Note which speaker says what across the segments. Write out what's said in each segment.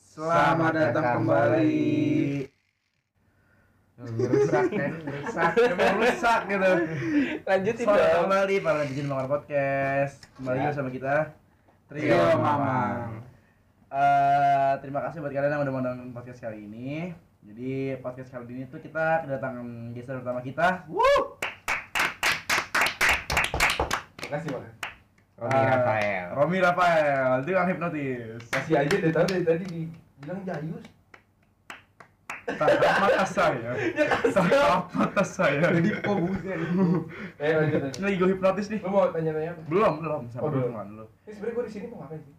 Speaker 1: Selamat datang kembali.
Speaker 2: Rusak kan, rusak, emang rusak gitu.
Speaker 3: Lanjutin
Speaker 2: Selamat
Speaker 3: dong.
Speaker 2: kembali para netizen Mawar Podcast. Kembali
Speaker 3: Ya.
Speaker 2: bersama kita
Speaker 1: Trio Mamang.
Speaker 2: Eh, terima kasih buat kalian yang udah mau nonton podcast kali ini. Jadi podcast kali ini tuh kita kedatangan guest pertama kita. Woo!
Speaker 1: Makasih banget.
Speaker 3: Romi
Speaker 2: Eh,
Speaker 3: Rafael.
Speaker 2: Romi Rafael, tukang hipnotis.
Speaker 1: Kasih aja dari tadi dari tadi dibilang jayus.
Speaker 2: Tatap mata saya.
Speaker 3: Ya,
Speaker 2: Tatap mata saya.
Speaker 1: Jadi kok bukan. Eh lanjut lanjut.
Speaker 2: Ini lagi gue hipnotis nih.
Speaker 1: Lu mau tanya-tanya apa?
Speaker 2: Belum, belum. Sabar
Speaker 1: Oh,
Speaker 2: dulu,
Speaker 1: belum.
Speaker 2: teman, belum.
Speaker 1: Ini sebenarnya gue di sini mau ngapain sih?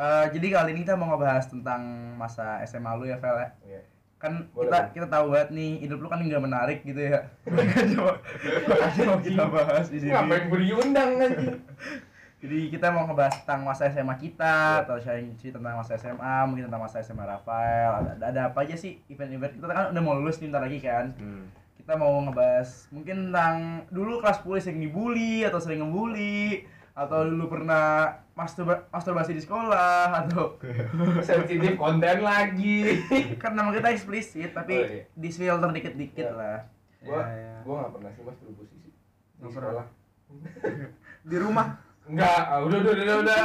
Speaker 2: Eh, jadi kali ini kita mau ngebahas tentang masa SMA lu ya, Vel ya.
Speaker 1: Iya.
Speaker 2: Kan
Speaker 1: Boleh,
Speaker 2: kita
Speaker 1: boleh.
Speaker 2: kita tahu banget nih hidup lu kan nggak menarik gitu ya. coba coba kita bahas di sini.
Speaker 1: Ngapain gue diundang aja?
Speaker 2: Jadi kita mau ngebahas tentang masa SMA kita, atau sharing cerita tentang masa SMA, mungkin tentang masa SMA Rafael. Ada, ada, ada apa aja sih event-event kita kan udah mau lulus nih ntar lagi kan.
Speaker 3: Hmm.
Speaker 2: Kita mau ngebahas mungkin tentang dulu kelas 10 sering dibully atau sering ngebully atau dulu pernah masturba- masturbasi di sekolah atau
Speaker 1: Sensitif konten lagi.
Speaker 2: kan nama kita eksplisit tapi
Speaker 1: Oh, iya.
Speaker 2: di filter dikit-dikit
Speaker 1: Iya.
Speaker 2: lah
Speaker 1: Gua
Speaker 2: Ya, ya.
Speaker 1: gua nggak pernah sih mas berubus sih. Di
Speaker 2: Nggak pernah.
Speaker 1: sekolah.
Speaker 2: di rumah
Speaker 1: Enggak, ah, udah udah udah udah.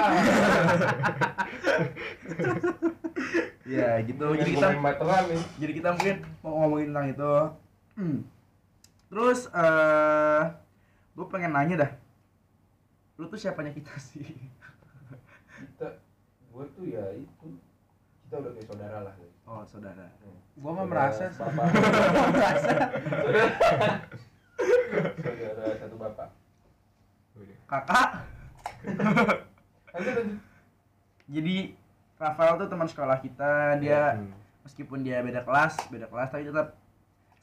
Speaker 1: Iya,
Speaker 2: ya gitu jadi
Speaker 1: Gue
Speaker 2: kita
Speaker 1: main materan nih.
Speaker 2: jadi kita mungkin mau ngomongin tentang itu Hmm. terus eh gue pengen nanya dah lu tuh siapanya kita sih
Speaker 1: Kita gue tuh ya itu kita udah kayak saudara lah.
Speaker 2: oh saudara
Speaker 1: Hmm.
Speaker 3: Gua mah merasa sih.
Speaker 1: bapak.
Speaker 2: merasa
Speaker 1: saudara. saudara satu bapak.
Speaker 2: kakak
Speaker 1: Lanjut lanjut.
Speaker 2: jadi Rafael tuh teman sekolah kita dia
Speaker 3: Iya.
Speaker 2: meskipun dia beda kelas beda kelas tapi tetap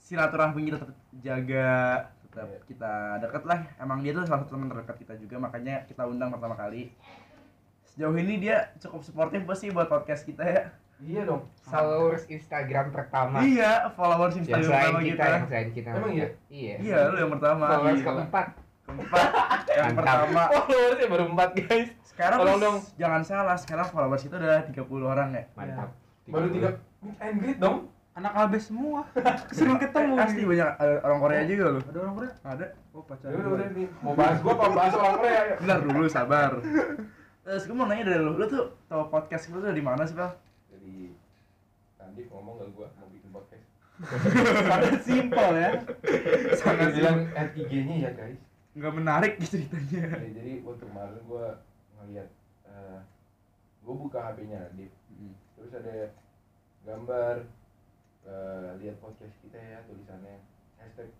Speaker 2: silaturahmi kita tetap jaga tetap
Speaker 1: Iya.
Speaker 2: kita dekat lah emang dia tuh salah satu teman terdekat kita juga makanya kita undang pertama kali sejauh ini dia cukup suportif pasti buat podcast kita ya
Speaker 1: Iya dong.
Speaker 3: Followers Instagram pertama.
Speaker 2: iya followers
Speaker 3: Yang
Speaker 2: Instagram pertama
Speaker 3: selain kita,
Speaker 2: kita, ya?
Speaker 3: yang selain kita.
Speaker 1: Emang iya?
Speaker 3: Iya.
Speaker 2: iya lu yang pertama
Speaker 1: Followers
Speaker 2: Iya.
Speaker 3: Followers keempat.
Speaker 2: keempat yang
Speaker 3: Mantap.
Speaker 2: pertama
Speaker 1: Followersnya Oh, baru empat guys.
Speaker 2: sekarang
Speaker 1: Tolong
Speaker 2: Mas,
Speaker 1: dong.
Speaker 2: jangan salah sekarang followers itu udah 30 orang ya
Speaker 3: Mantap.
Speaker 1: Iya. Baru tiga. Meet and greet dong.
Speaker 4: anak albes semua sering ketemu
Speaker 2: pasti banyak eh, orang Korea juga lu
Speaker 4: ada orang Korea
Speaker 2: ada
Speaker 4: oh pacar
Speaker 1: Ya udah
Speaker 4: gua.
Speaker 1: udah nih. Mau bahas gua apa bahas orang Korea? Ayo.
Speaker 2: Bentar dulu sabar. Terus gue mau nanya dari lu, lu tuh tau podcast lu tuh dari mana sih, Bang?
Speaker 1: Jadi tadi ngomong gak gua mau bikin podcast.
Speaker 4: sangat simpel ya
Speaker 1: Sangat bilang at IG-nya ya guys.
Speaker 2: Nggak menarik gitu ceritanya.
Speaker 1: Ya, jadi waktu kemarin gue ngeliat eh gue buka HP-nya Dip. terus ada gambar eh, lihat podcast kita ya tulisannya hashtag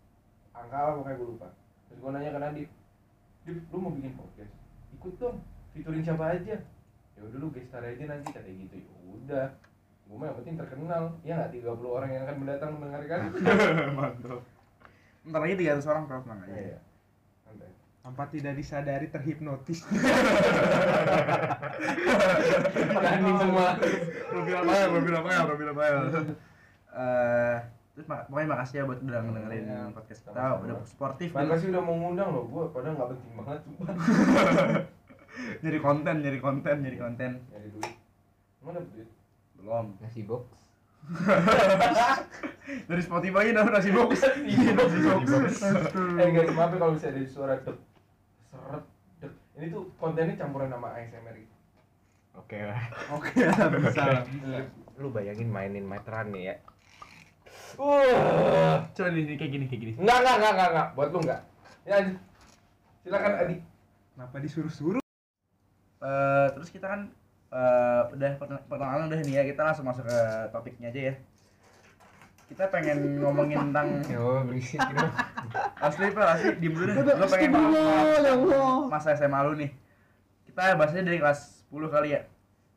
Speaker 1: angka apa pokoknya gue lupa terus gue nanya ke Nadip Dip lu mau bikin podcast ikut dong featuring siapa aja ya udah lu guest star aja nanti kata gitu ya udah gue mah yang penting terkenal ya nggak 30 orang yang akan mendatang mendengarkan
Speaker 2: Mantap. Ntar lagi 300 orang tau tenang aja.
Speaker 1: Iya. santai
Speaker 4: tanpa tidak disadari terhipnotis
Speaker 1: Berani semua
Speaker 2: Robby Rafael, Robby Rafael, Robby Rafael. ya? Eh, terus mak pokoknya makasih ya buat udah dengerin
Speaker 4: Iya.
Speaker 2: podcast kita,
Speaker 1: Sama-sama.
Speaker 2: udah sportif dan
Speaker 1: Makasih udah mau ngundang loh gue padahal nggak penting banget sumpah
Speaker 2: nyari konten, nyari konten, nyari konten.
Speaker 1: nyari duit emang dapet duit
Speaker 2: Belum.
Speaker 3: Nasi box.
Speaker 2: Dari Spotify aja udah nasi box.
Speaker 1: Iya,
Speaker 4: Iya,
Speaker 2: Nasi box.
Speaker 1: eh guys maaf ya kalau bisa ada suara dek seret dek ini tuh kontennya campuran sama ASMR gitu
Speaker 3: Oke lah.
Speaker 2: Oke, bisa. lah.
Speaker 1: Iya.
Speaker 3: Lu bayangin mainin meteran nih ya.
Speaker 1: uh
Speaker 2: Coba di sini kayak gini, kayak gini.
Speaker 1: nggak nggak nggak nggak nggak buat lu nggak ya lanjut. silakan Adi
Speaker 4: kenapa disuruh-suruh
Speaker 2: Eh, terus kita kan eh, udah perten- pertengahan udah nih ya kita langsung masuk ke topiknya aja ya kita pengen ngomongin tentang
Speaker 3: Ya Allah, berisik gitu.
Speaker 2: asli pak asli di dulu deh
Speaker 4: Udah,
Speaker 2: lo pengen
Speaker 4: stop dulu,
Speaker 2: bahas-
Speaker 4: ya Allah.
Speaker 2: masa SMA lu nih kita bahasnya dari kelas 10 kali ya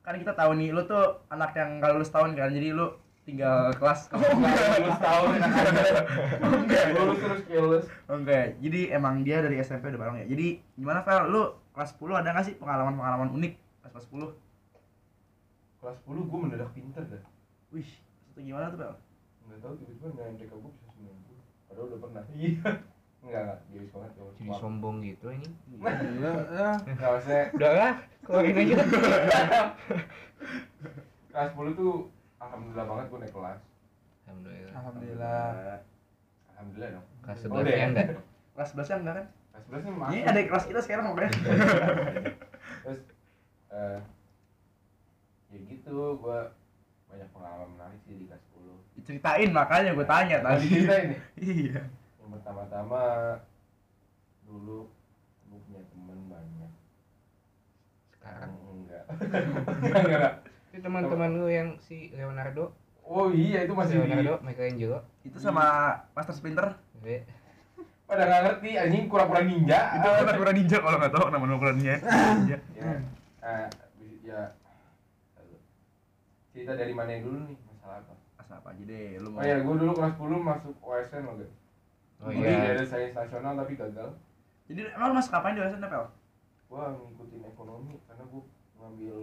Speaker 2: kan kita tahu nih lu tuh anak yang kalau lulus tahun kan jadi lu tinggal kelas
Speaker 4: Oh,
Speaker 1: nggak lulus tahun enak aja lulus terus kayak lulus
Speaker 2: Oke, jadi emang dia dari SMP udah bareng ya. Jadi gimana Fel, lu kelas 10 ada nggak sih pengalaman-pengalaman unik pas kelas 10?
Speaker 1: kelas 10 gue mendadak pinter dah
Speaker 2: Wih, itu gimana tuh Fel?
Speaker 1: nggak tahu tiba-tiba nilai MTK gue bisa sembilan puluh padahal udah pernah iya nggak nggak jadi banget kalau
Speaker 3: Jadi sombong gitu ini.
Speaker 4: Gila, ya.
Speaker 1: nggak maksudnya
Speaker 3: Udah lah, keluarin aja.
Speaker 1: kelas 10 tuh alhamdulillah banget gue naik kelas
Speaker 3: Alhamdulillah.
Speaker 4: Alhamdulillah.
Speaker 1: alhamdulillah dong Nah,
Speaker 3: Kelas
Speaker 1: Oh,
Speaker 3: 11 ya
Speaker 1: deh.
Speaker 3: enggak?
Speaker 2: Kelas 11 nya enggak kan?
Speaker 1: kelas 11 nih
Speaker 2: Ini
Speaker 1: masuk
Speaker 2: ada kelas kita sekarang makanya.
Speaker 1: terus eh ya gitu gue banyak pengalaman menarik sih di kelas 10
Speaker 2: Diceritain makanya gue tanya tadi.
Speaker 1: kita ini
Speaker 2: Iya.
Speaker 1: yang pertama-tama dulu gue punya teman banyak
Speaker 2: Kan?
Speaker 3: Sekarang.
Speaker 1: enggak enggak enggak
Speaker 3: Itu teman-teman lu yang si Leonardo,
Speaker 1: oh iya itu masih di
Speaker 3: Leonardo, Michelangelo.
Speaker 2: Itu sama Master Splinter.
Speaker 3: Gue
Speaker 1: pada nggak ngerti anjing kurang-kurang ninja
Speaker 2: Itu
Speaker 1: Ah.
Speaker 2: anak kurang ninja kalau nggak tahu nama nukulannya. Ninja.
Speaker 1: ya eh, bi- ya cerita dari mana dulu nih masalah apa
Speaker 2: Asal apa aja deh lu
Speaker 1: oh
Speaker 2: mau.
Speaker 1: ya gue dulu kelas 10 masuk OSN loh guys
Speaker 3: Oh
Speaker 1: jadi
Speaker 3: iya.
Speaker 1: dari sains nasional tapi gagal
Speaker 2: Jadi emang lu masuk kapan di OSN Pel?
Speaker 1: gue ngikutin ekonomi karena gue ngambil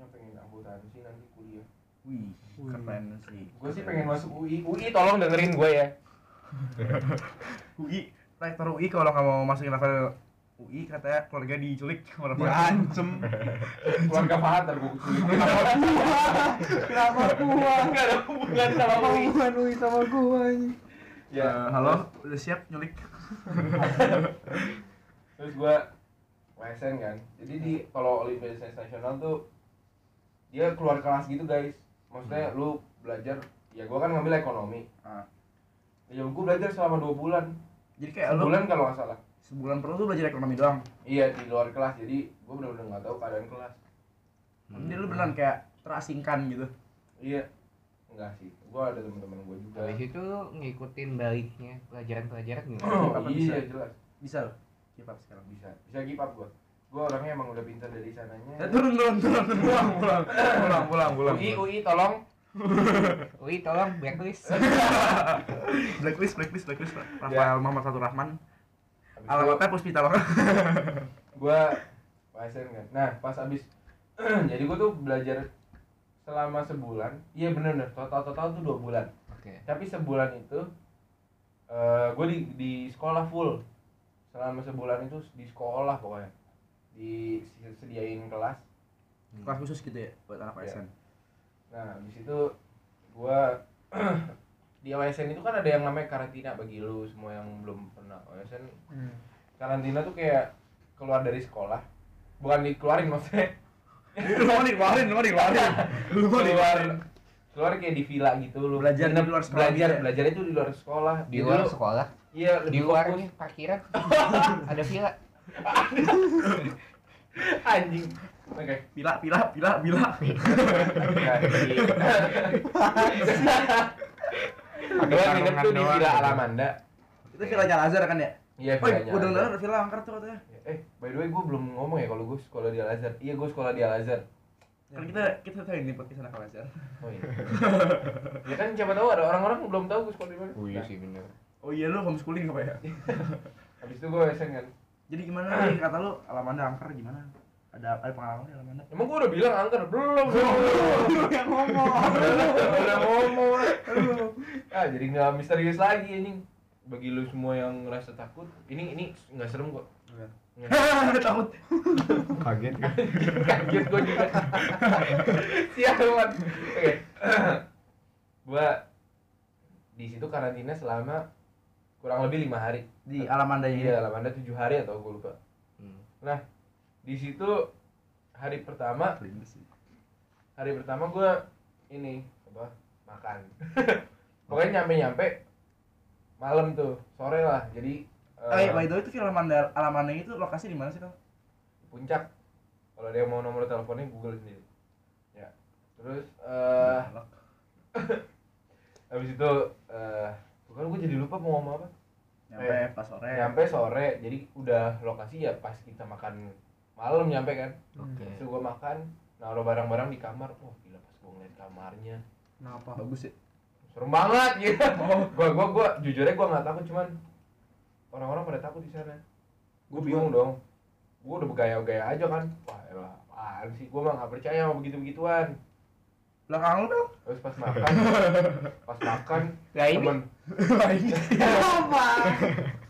Speaker 1: nya pengen akuntansi nanti kuliah
Speaker 2: Wih,
Speaker 4: Wih.
Speaker 2: keren sih.
Speaker 1: gue sih pengen masuk UI UI
Speaker 3: tolong dengerin gue ya.
Speaker 2: UI, rektor UI kalau nggak mau masukin level UI katanya keluarga diculik sama orang
Speaker 4: Diancem.
Speaker 1: keluarga pahat dan gue kuculik
Speaker 4: Kenapa gua?
Speaker 1: nggak ada hubungan sama
Speaker 4: Kenapa
Speaker 1: UI
Speaker 4: hubungan Ui sama gua ini?
Speaker 1: ya
Speaker 2: Eh, halo, udah siap nyulik?
Speaker 1: terus gue OSN kan jadi di kalau Olimpiade Sains Nasional tuh dia keluar kelas gitu guys
Speaker 2: Hmm.
Speaker 1: maksudnya lu belajar ya gue kan ngambil ekonomi
Speaker 2: Ah.
Speaker 1: ya gue belajar selama dua bulan
Speaker 2: Jadi kayak Ya, lu
Speaker 1: sebulan kalau nggak salah
Speaker 2: sebulan perlu tuh belajar ekonomi doang.
Speaker 1: iya di luar kelas jadi gue bener-bener nggak tahu keadaan kelas
Speaker 2: Jadi lu beneran kayak terasingkan gitu.
Speaker 1: iya enggak sih gue ada teman-teman gue juga
Speaker 3: Habis itu lu ngikutin baliknya pelajaran-pelajaran gimana?
Speaker 1: Oh,
Speaker 2: Apa bisa?
Speaker 1: iya jelas
Speaker 2: Bisa lo. Keep up sekarang.
Speaker 1: bisa bisa keep up gue gue orangnya emang udah pintar dari
Speaker 2: Eh,
Speaker 1: sananya
Speaker 2: turun turun turun turun, pulang pulang pulang pulang pulang.
Speaker 1: UI UI tolong
Speaker 3: Ui tolong blacklist.
Speaker 2: Blacklist blacklist blacklist. Pak.
Speaker 1: Ya.
Speaker 2: Rafael Muhammad Fatur Rahman.
Speaker 1: Habis itu-
Speaker 2: Alamatnya Puspita Loka.
Speaker 1: gua pasien kan nah pas abis jadi gua tuh belajar selama sebulan iya bener bener total total tuh dua bulan
Speaker 3: Oke.
Speaker 1: tapi sebulan itu eh gue di di sekolah full selama sebulan itu di sekolah pokoknya disediain kelas
Speaker 2: Kelas khusus gitu ya buat anak
Speaker 1: Iya.
Speaker 2: ASN.
Speaker 1: nah abis itu gua di OSN itu kan ada yang namanya karantina bagi lu semua yang belum pernah OSN karantina tuh kayak keluar dari sekolah bukan dikeluarin maksudnya
Speaker 2: Lu mau dikeluarin, lu mau dikeluarin. Lu mau
Speaker 1: keluar
Speaker 2: dikeluarin.
Speaker 1: keluar kayak di villa gitu lu
Speaker 2: Belajar di
Speaker 1: Nginep,
Speaker 2: luar sekolah
Speaker 1: belajar
Speaker 2: gitu ya?
Speaker 1: belajar itu di luar sekolah
Speaker 3: Di
Speaker 1: Jadi
Speaker 3: luar
Speaker 1: lu-
Speaker 3: sekolah,
Speaker 1: iya
Speaker 3: di
Speaker 1: lebih
Speaker 3: luar
Speaker 1: fokus.
Speaker 3: nih parkiran. Ada villa.
Speaker 1: anjing oke
Speaker 2: Pila pila pila pila.
Speaker 1: Nah, di- gua nginep tuh di
Speaker 3: sarungan
Speaker 1: villa
Speaker 3: doang.
Speaker 1: Alamanda
Speaker 2: Itu villanya Lazar kan ya?
Speaker 1: iya
Speaker 2: Oh,
Speaker 1: villanya
Speaker 2: gue denger
Speaker 1: Al-Azhar.
Speaker 2: ada villa angker tuh katanya.
Speaker 1: eh by the way gue belum ngomong ya kalau gue sekolah di Al Azhar iya gue sekolah di Al Azhar
Speaker 2: Kan kita kita tahu ini podcast anak Lazar.
Speaker 1: oh iya ya kan siapa tahu ada orang-orang belum tahu gue sekolah di mana
Speaker 3: Oh iya
Speaker 1: Nah,
Speaker 3: sih bener.
Speaker 2: Oh iya lu homeschooling apa ya?
Speaker 1: habis itu gue SN kan
Speaker 2: Jadi gimana nih Eh, kata lu Alamanda angker gimana? Ada ada pengalaman di Alamanda?
Speaker 1: emang gue udah bilang angker belum belum
Speaker 4: Lu yang ngomong.
Speaker 1: udah ngomong ah jadi nggak misterius lagi ini bagi lu semua yang ngerasa takut ini ini nggak serem kok
Speaker 2: Iya.
Speaker 1: Nggak serem.
Speaker 2: Hahaha, takut.
Speaker 3: Kaget kan?
Speaker 1: kaget gue juga sialan oke gua di situ karantina selama kurang lebih lima hari
Speaker 2: Di ya? Alamandanya ini.
Speaker 1: iya lama anda tujuh hari atau gue lupa
Speaker 3: Hmm.
Speaker 1: nah di situ hari pertama
Speaker 2: Kelindes sih.
Speaker 1: hari pertama gue ini apa makan pokoknya nyampe nyampe malam tuh sore lah jadi eh,
Speaker 2: Oh iya, by the way itu film Alamanda Alamanda itu lokasi di mana sih kau?
Speaker 1: puncak kalau dia mau nomor teleponnya google sendiri ya terus
Speaker 2: Nah,
Speaker 1: eh habis itu eh bukan gue jadi lupa mau ngomong apa
Speaker 2: Nyampe
Speaker 1: Eh,
Speaker 2: pas sore.
Speaker 1: nyampe sore jadi udah lokasi ya pas kita makan malam nyampe kan
Speaker 3: Oke.
Speaker 1: terus gue makan naruh barang-barang di kamar wah gila pas gue ngeliat kamarnya
Speaker 4: Kenapa?
Speaker 2: Bagus ya.
Speaker 1: serem banget gitu gua gua gua jujurnya gua nggak takut cuman orang-orang pada takut di sana gua bingung dong gua udah bergaya-gaya aja kan wah elah apaan sih gua mah nggak percaya sama begitu-begituan
Speaker 2: Belakang lu dong.
Speaker 1: terus pas makan pas makan
Speaker 3: Lah ini.
Speaker 1: temen
Speaker 4: Kenapa?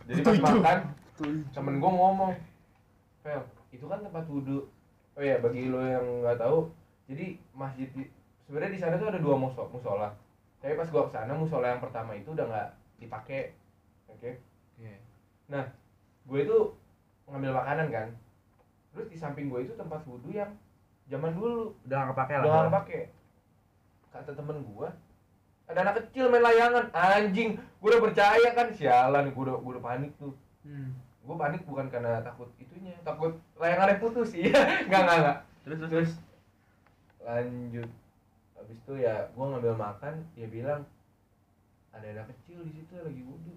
Speaker 1: jadi pas
Speaker 2: Setuju.
Speaker 1: makan
Speaker 4: Tuh.
Speaker 1: temen gua ngomong iya, Pel itu kan tempat wudhu oh ya bagi lo yang nggak tahu jadi masjid di- sebenarnya di sana tuh ada dua muso- musola tapi pas gua kesana musola yang pertama itu udah nggak dipakai oke
Speaker 3: Iya.
Speaker 1: gue itu ngambil makanan kan terus di samping gue itu tempat wudhu yang zaman dulu
Speaker 2: udah nggak kepake lah
Speaker 1: udah nggak pakai kata temen gue ada anak kecil main layangan anjing gue udah percaya kan sialan gue udah gue udah panik tuh
Speaker 4: Hmm.
Speaker 1: gue panik bukan karena takut itunya takut layangannya putus sih nggak nggak nggak
Speaker 2: terus terus, terus.
Speaker 1: terus lanjut habis itu ya gue ngambil makan dia bilang ada anak kecil di situ lagi wudhu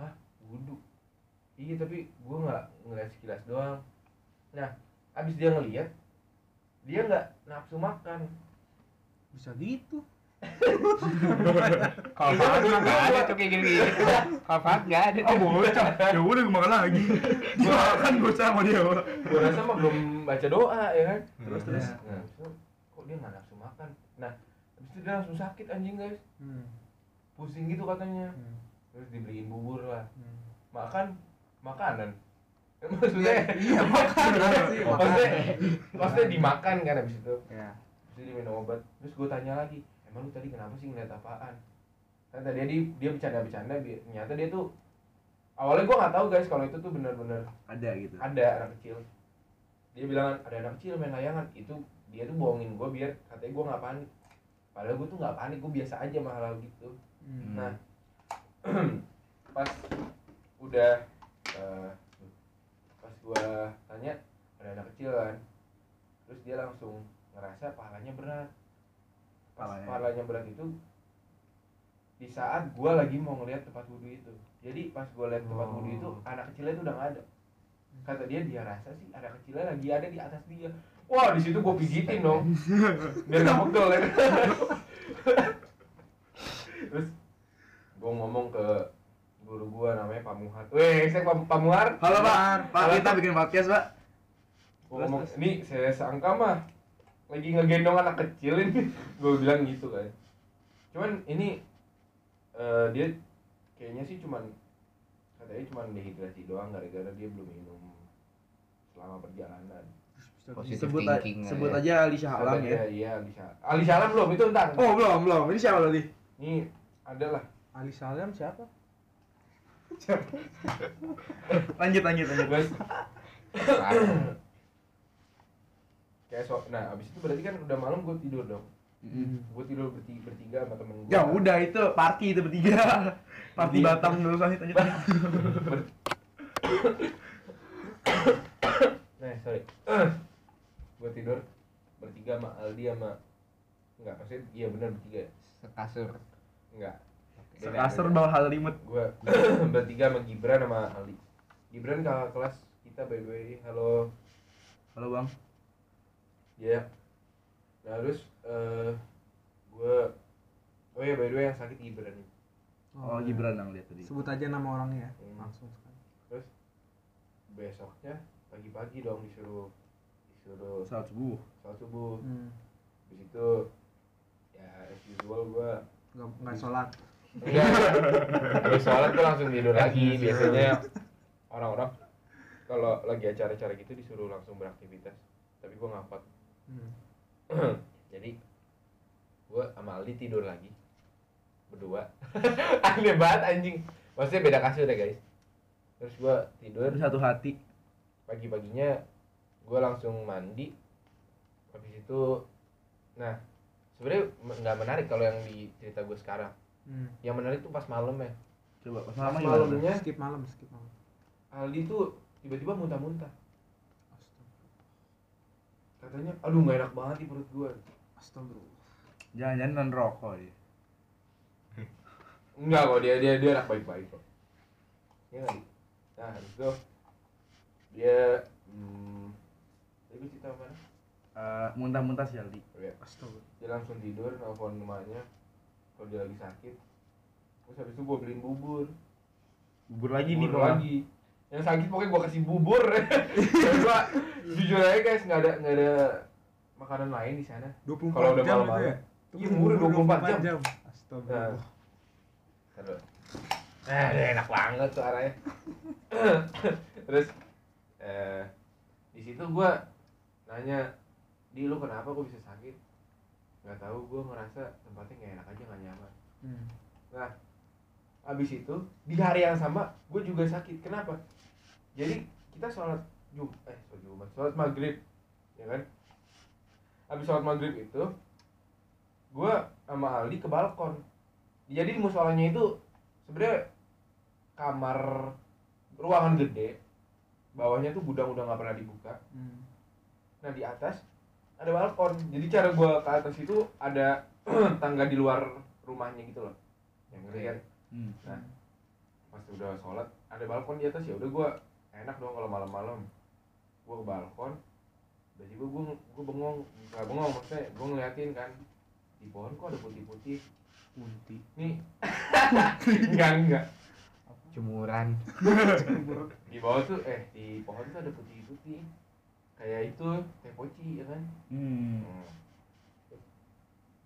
Speaker 1: hah wudhu iya tapi gue nggak ngeliat sekilas doang nah abis dia ngeliat dia nggak nafsu makan
Speaker 4: Bisa gitu.
Speaker 2: Hmm.
Speaker 3: Kalau Fahad mah nggak ada tuh kayak gini. Kalau Fahad nggak ada tuh.
Speaker 2: boleh Cam. ya udah gue makan lagi gue makan gue sama dia
Speaker 1: gue rasa mah belum baca doa ya kan
Speaker 2: terus terus
Speaker 1: nah, abis itu, kok dia nggak nafsu makan nah abis itu dia langsung sakit anjing guys
Speaker 4: Hmm.
Speaker 1: pusing gitu katanya
Speaker 4: Hmm.
Speaker 1: terus dibeliin bubur lah
Speaker 4: Hmm.
Speaker 1: makan makanan maksudnya
Speaker 4: Iya, makan sih,
Speaker 1: maksudnya
Speaker 4: makan.
Speaker 1: maksudnya dimakan kan abis itu
Speaker 2: Iya.
Speaker 4: Ya.
Speaker 1: abis itu diminum obat terus gue tanya lagi emang lu tadi kenapa sih ngeliat apaan kan tadi dia dia bercanda bercanda ternyata dia tuh awalnya gue nggak tahu guys kalau itu tuh benar-benar
Speaker 2: ada gitu
Speaker 1: ada anak kecil dia bilang ada anak kecil main layangan itu dia tuh bohongin gue biar katanya gue nggak panik padahal gue tuh nggak panik gue biasa aja mahal gitu
Speaker 4: Hmm.
Speaker 1: Nah, pas udah eh, pas gua tanya ada anak kecil kan, terus dia langsung ngerasa pahalanya berat. Pas
Speaker 2: Pahalanya.
Speaker 1: pahalanya, berat itu di saat gua lagi mau ngeliat tempat wudhu itu. Jadi pas gua lihat tempat wudhu itu anak kecilnya itu udah gak ada. Kata dia dia rasa sih anak kecilnya lagi ada di atas dia. Wah di situ gua pijitin dong biar gak pegel ya. terus gua ngomong ke guru gua namanya Pak Muhar. Weh, saya Pak, Pak Muhar.
Speaker 2: halo pak pak
Speaker 1: Halo,
Speaker 2: kita
Speaker 1: Pak.
Speaker 2: bikin podcast pak
Speaker 1: Gua ngomong, ini saya sangka mah lagi ngegendong anak kecil ini. gua bilang gitu kan. Cuman ini eh, dia kayaknya sih cuman katanya cuman dehidrasi doang gara-gara dia belum minum selama perjalanan.
Speaker 3: Positive
Speaker 2: sebut a-
Speaker 3: thinking
Speaker 2: sebut
Speaker 3: aja.
Speaker 2: aja Alisa Alam ya
Speaker 1: Katanya, Iya, Alisa. Alisa Alam belum itu entar.
Speaker 4: Oh, belum, belum. Ini siapa tadi?
Speaker 1: Ini adalah
Speaker 4: Ali Salam siapa?
Speaker 2: lanjut lanjut lanjut
Speaker 1: Terus kayak so, nah abis itu berarti kan udah malam gue tidur dong.
Speaker 2: Mm.
Speaker 1: Gue tidur bertiga, bertiga sama temen gue.
Speaker 2: ya udah itu party itu bertiga party
Speaker 1: Iya.
Speaker 2: Batam dulu lanjut lanjut
Speaker 1: Nah sorry. gue tidur bertiga sama Aldi sama enggak maksudnya iya benar bertiga ya?
Speaker 3: Sekasur.
Speaker 1: enggak
Speaker 2: kasur bawah hal limut
Speaker 1: gue bertiga sama Gibran sama Aldi Gibran kakak kelas kita by the way halo
Speaker 2: halo bang
Speaker 1: Iya. Nah terus eh gue oh ya by the way yang sakit Gibran.
Speaker 2: oh Gibran yang lihat tadi
Speaker 4: iya. Sebut aja nama orangnya ya.
Speaker 1: Hmm.
Speaker 4: Langsung sekali.
Speaker 1: Terus besoknya pagi-pagi dong disuruh disuruh
Speaker 2: saat subuh
Speaker 1: sholat subuh.
Speaker 4: Hmm.
Speaker 1: Habis itu ya as usual gue
Speaker 4: Enggak enggak sholat.
Speaker 1: enggak. Iya. Habis sholat gue langsung tidur lagi. Biasanya orang-orang kalau lagi acara-acara gitu disuruh langsung beraktivitas. Tapi gue ngapa
Speaker 4: Hmm.
Speaker 1: jadi gue sama Aldi tidur lagi berdua aneh banget anjing maksudnya beda kasur ya guys terus gue tidur
Speaker 2: Baru satu hati
Speaker 1: pagi paginya gue langsung mandi habis itu nah sebenarnya me- nggak menarik kalau yang di cerita gue sekarang
Speaker 4: Hmm.
Speaker 1: yang menarik tuh pas malam ya
Speaker 2: coba pas
Speaker 1: Pas
Speaker 2: lama
Speaker 1: malam.
Speaker 2: gimana
Speaker 1: Malamnya?
Speaker 4: skip malam, skip malam.
Speaker 1: Aldi tuh tiba-tiba muntah-muntah
Speaker 4: Astagfirullah.
Speaker 1: katanya aduh nggak enak banget di perut gue
Speaker 4: Astagfirullah.
Speaker 2: jangan-jangan ya. non rokok dia
Speaker 1: Enggak kok dia dia dia anak baik-baik kok. Iya kan? Nah, habis itu dia hmm, tadi cerita apa?
Speaker 2: Eh, muntah-muntah si Aldi
Speaker 1: Ya,
Speaker 4: Astagfirullah.
Speaker 1: dia langsung tidur nelfon mamanya kalau dia lagi sakit. Terus habis itu gua beliin bubur.
Speaker 2: bubur lagi nih
Speaker 1: bubur
Speaker 2: pokoknya.
Speaker 1: lagi. Yang sakit pokoknya gua kasih bubur. Dan gua jujur aja guys, nggak ada nggak ada makanan lain di sana.
Speaker 4: 24
Speaker 1: Kalau udah
Speaker 4: jam itu
Speaker 1: malam-malam.
Speaker 4: ya.
Speaker 1: Iya, murah 24 jam. Nah.
Speaker 4: Astagfirullah.
Speaker 1: Terus. Eh, dia enak banget tuh arahnya. Terus eh di situ gua nanya, "Di lu kenapa kok bisa sakit?" nggak tahu gue ngerasa tempatnya nggak enak aja nggak nyaman
Speaker 4: Hmm.
Speaker 1: abis itu di hari yang sama gue juga sakit kenapa jadi kita sholat jum eh sholat jumat sholat maghrib ya kan abis sholat maghrib itu gue sama Aldi ke balkon jadi di musolanya itu sebenarnya kamar ruangan gede bawahnya tuh gudang udah nggak pernah dibuka
Speaker 4: Hmm.
Speaker 1: nah di atas ada balkon jadi cara gue ke atas itu ada tangga di luar rumahnya gitu loh yang ngeri kan
Speaker 2: Hmm.
Speaker 1: Nah, pas udah sholat ada balkon di atas ya udah gua enak dong kalau malam-malam gua ke balkon udah tiba gua gua bengong nggak bengong maksudnya gua ngeliatin kan di pohon kok ada putih-putih
Speaker 4: Kunti.
Speaker 1: nih enggak enggak
Speaker 3: Jemuran.
Speaker 1: di bawah tuh eh di pohon tuh ada putih-putih kayak itu teh poci ya kan
Speaker 2: Hmm.
Speaker 1: Hmm.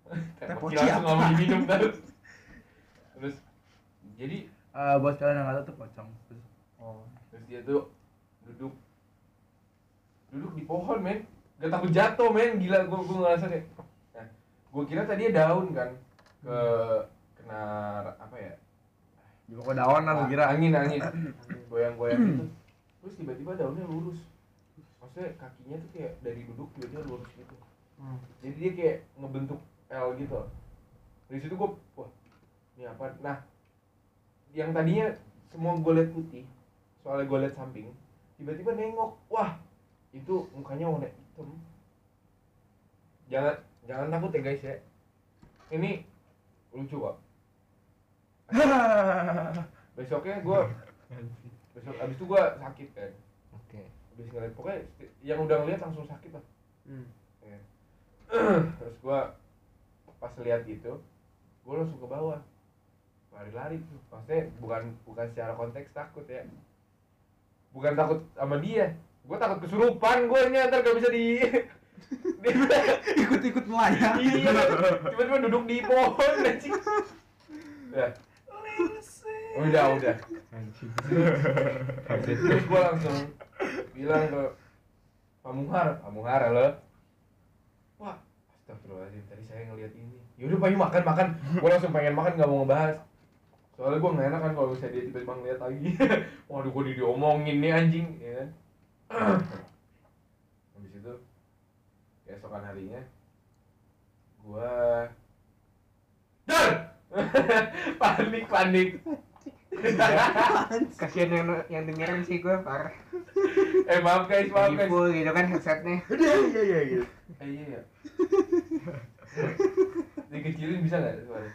Speaker 1: teh
Speaker 4: Teh
Speaker 1: poci
Speaker 4: poci
Speaker 1: langsung nggak mau diminum terus terus jadi
Speaker 2: Eh, buat kalian yang nggak tahu tuh pocong.
Speaker 4: Oh.
Speaker 1: terus dia tuh duduk duduk di pohon men gak takut jatuh men gila gue gue ngerasa kayak nah, gue kira tadi daun kan ke kena ra- apa ya
Speaker 2: Di pokok daun lah gua kira.
Speaker 1: angin angin goyang-goyang gitu terus tiba-tiba daunnya lurus maksudnya kakinya tuh kayak dari duduk tiba-tiba lurus gitu
Speaker 4: Hmm.
Speaker 1: jadi dia kayak ngebentuk L gitu dari situ gue wah ini apa nah yang tadinya semua gue liat putih soalnya gue liat samping tiba-tiba nengok wah itu mukanya warna hitam jangan jangan takut ya guys ya ini lucu kok besoknya gue besok abis itu gue sakit kan
Speaker 3: Oke.
Speaker 1: abis ngeliat pokoknya yang udah ngeliat langsung sakit lah
Speaker 4: Hmm.
Speaker 1: Iya. terus gua pas lihat itu gua langsung ke bawah lari-lari tuh maksudnya bukan bukan secara konteks takut ya bukan takut sama dia gua takut kesurupan gua ini ntar gak bisa di di-
Speaker 4: Ikut-ikut melayang.
Speaker 1: iya tiba-tiba duduk di pohon anjing ya udah udah
Speaker 3: Anjing.
Speaker 1: terus gue langsung bilang ke Pak Muhar Pak Muhar halo wah astagfirullahaladzim tadi saya ngeliat ini yaudah Pak yuk makan makan gue langsung pengen makan nggak mau ngebahas soalnya gue nggak enak kan kalau misalnya dia tiba-tiba ngeliat lagi waduh gue diomongin nih anjing ya kan habis itu keesokan harinya gue dar panik panik
Speaker 3: Kasihan yang yang dengerin sih gue parah.
Speaker 1: eh maaf guys maaf
Speaker 3: Lagi
Speaker 1: guys
Speaker 3: full gitu kan headsetnya.
Speaker 2: Udah, iya iya gitu.
Speaker 1: Eh, iya ya. Dikecilin bisa nggak suara?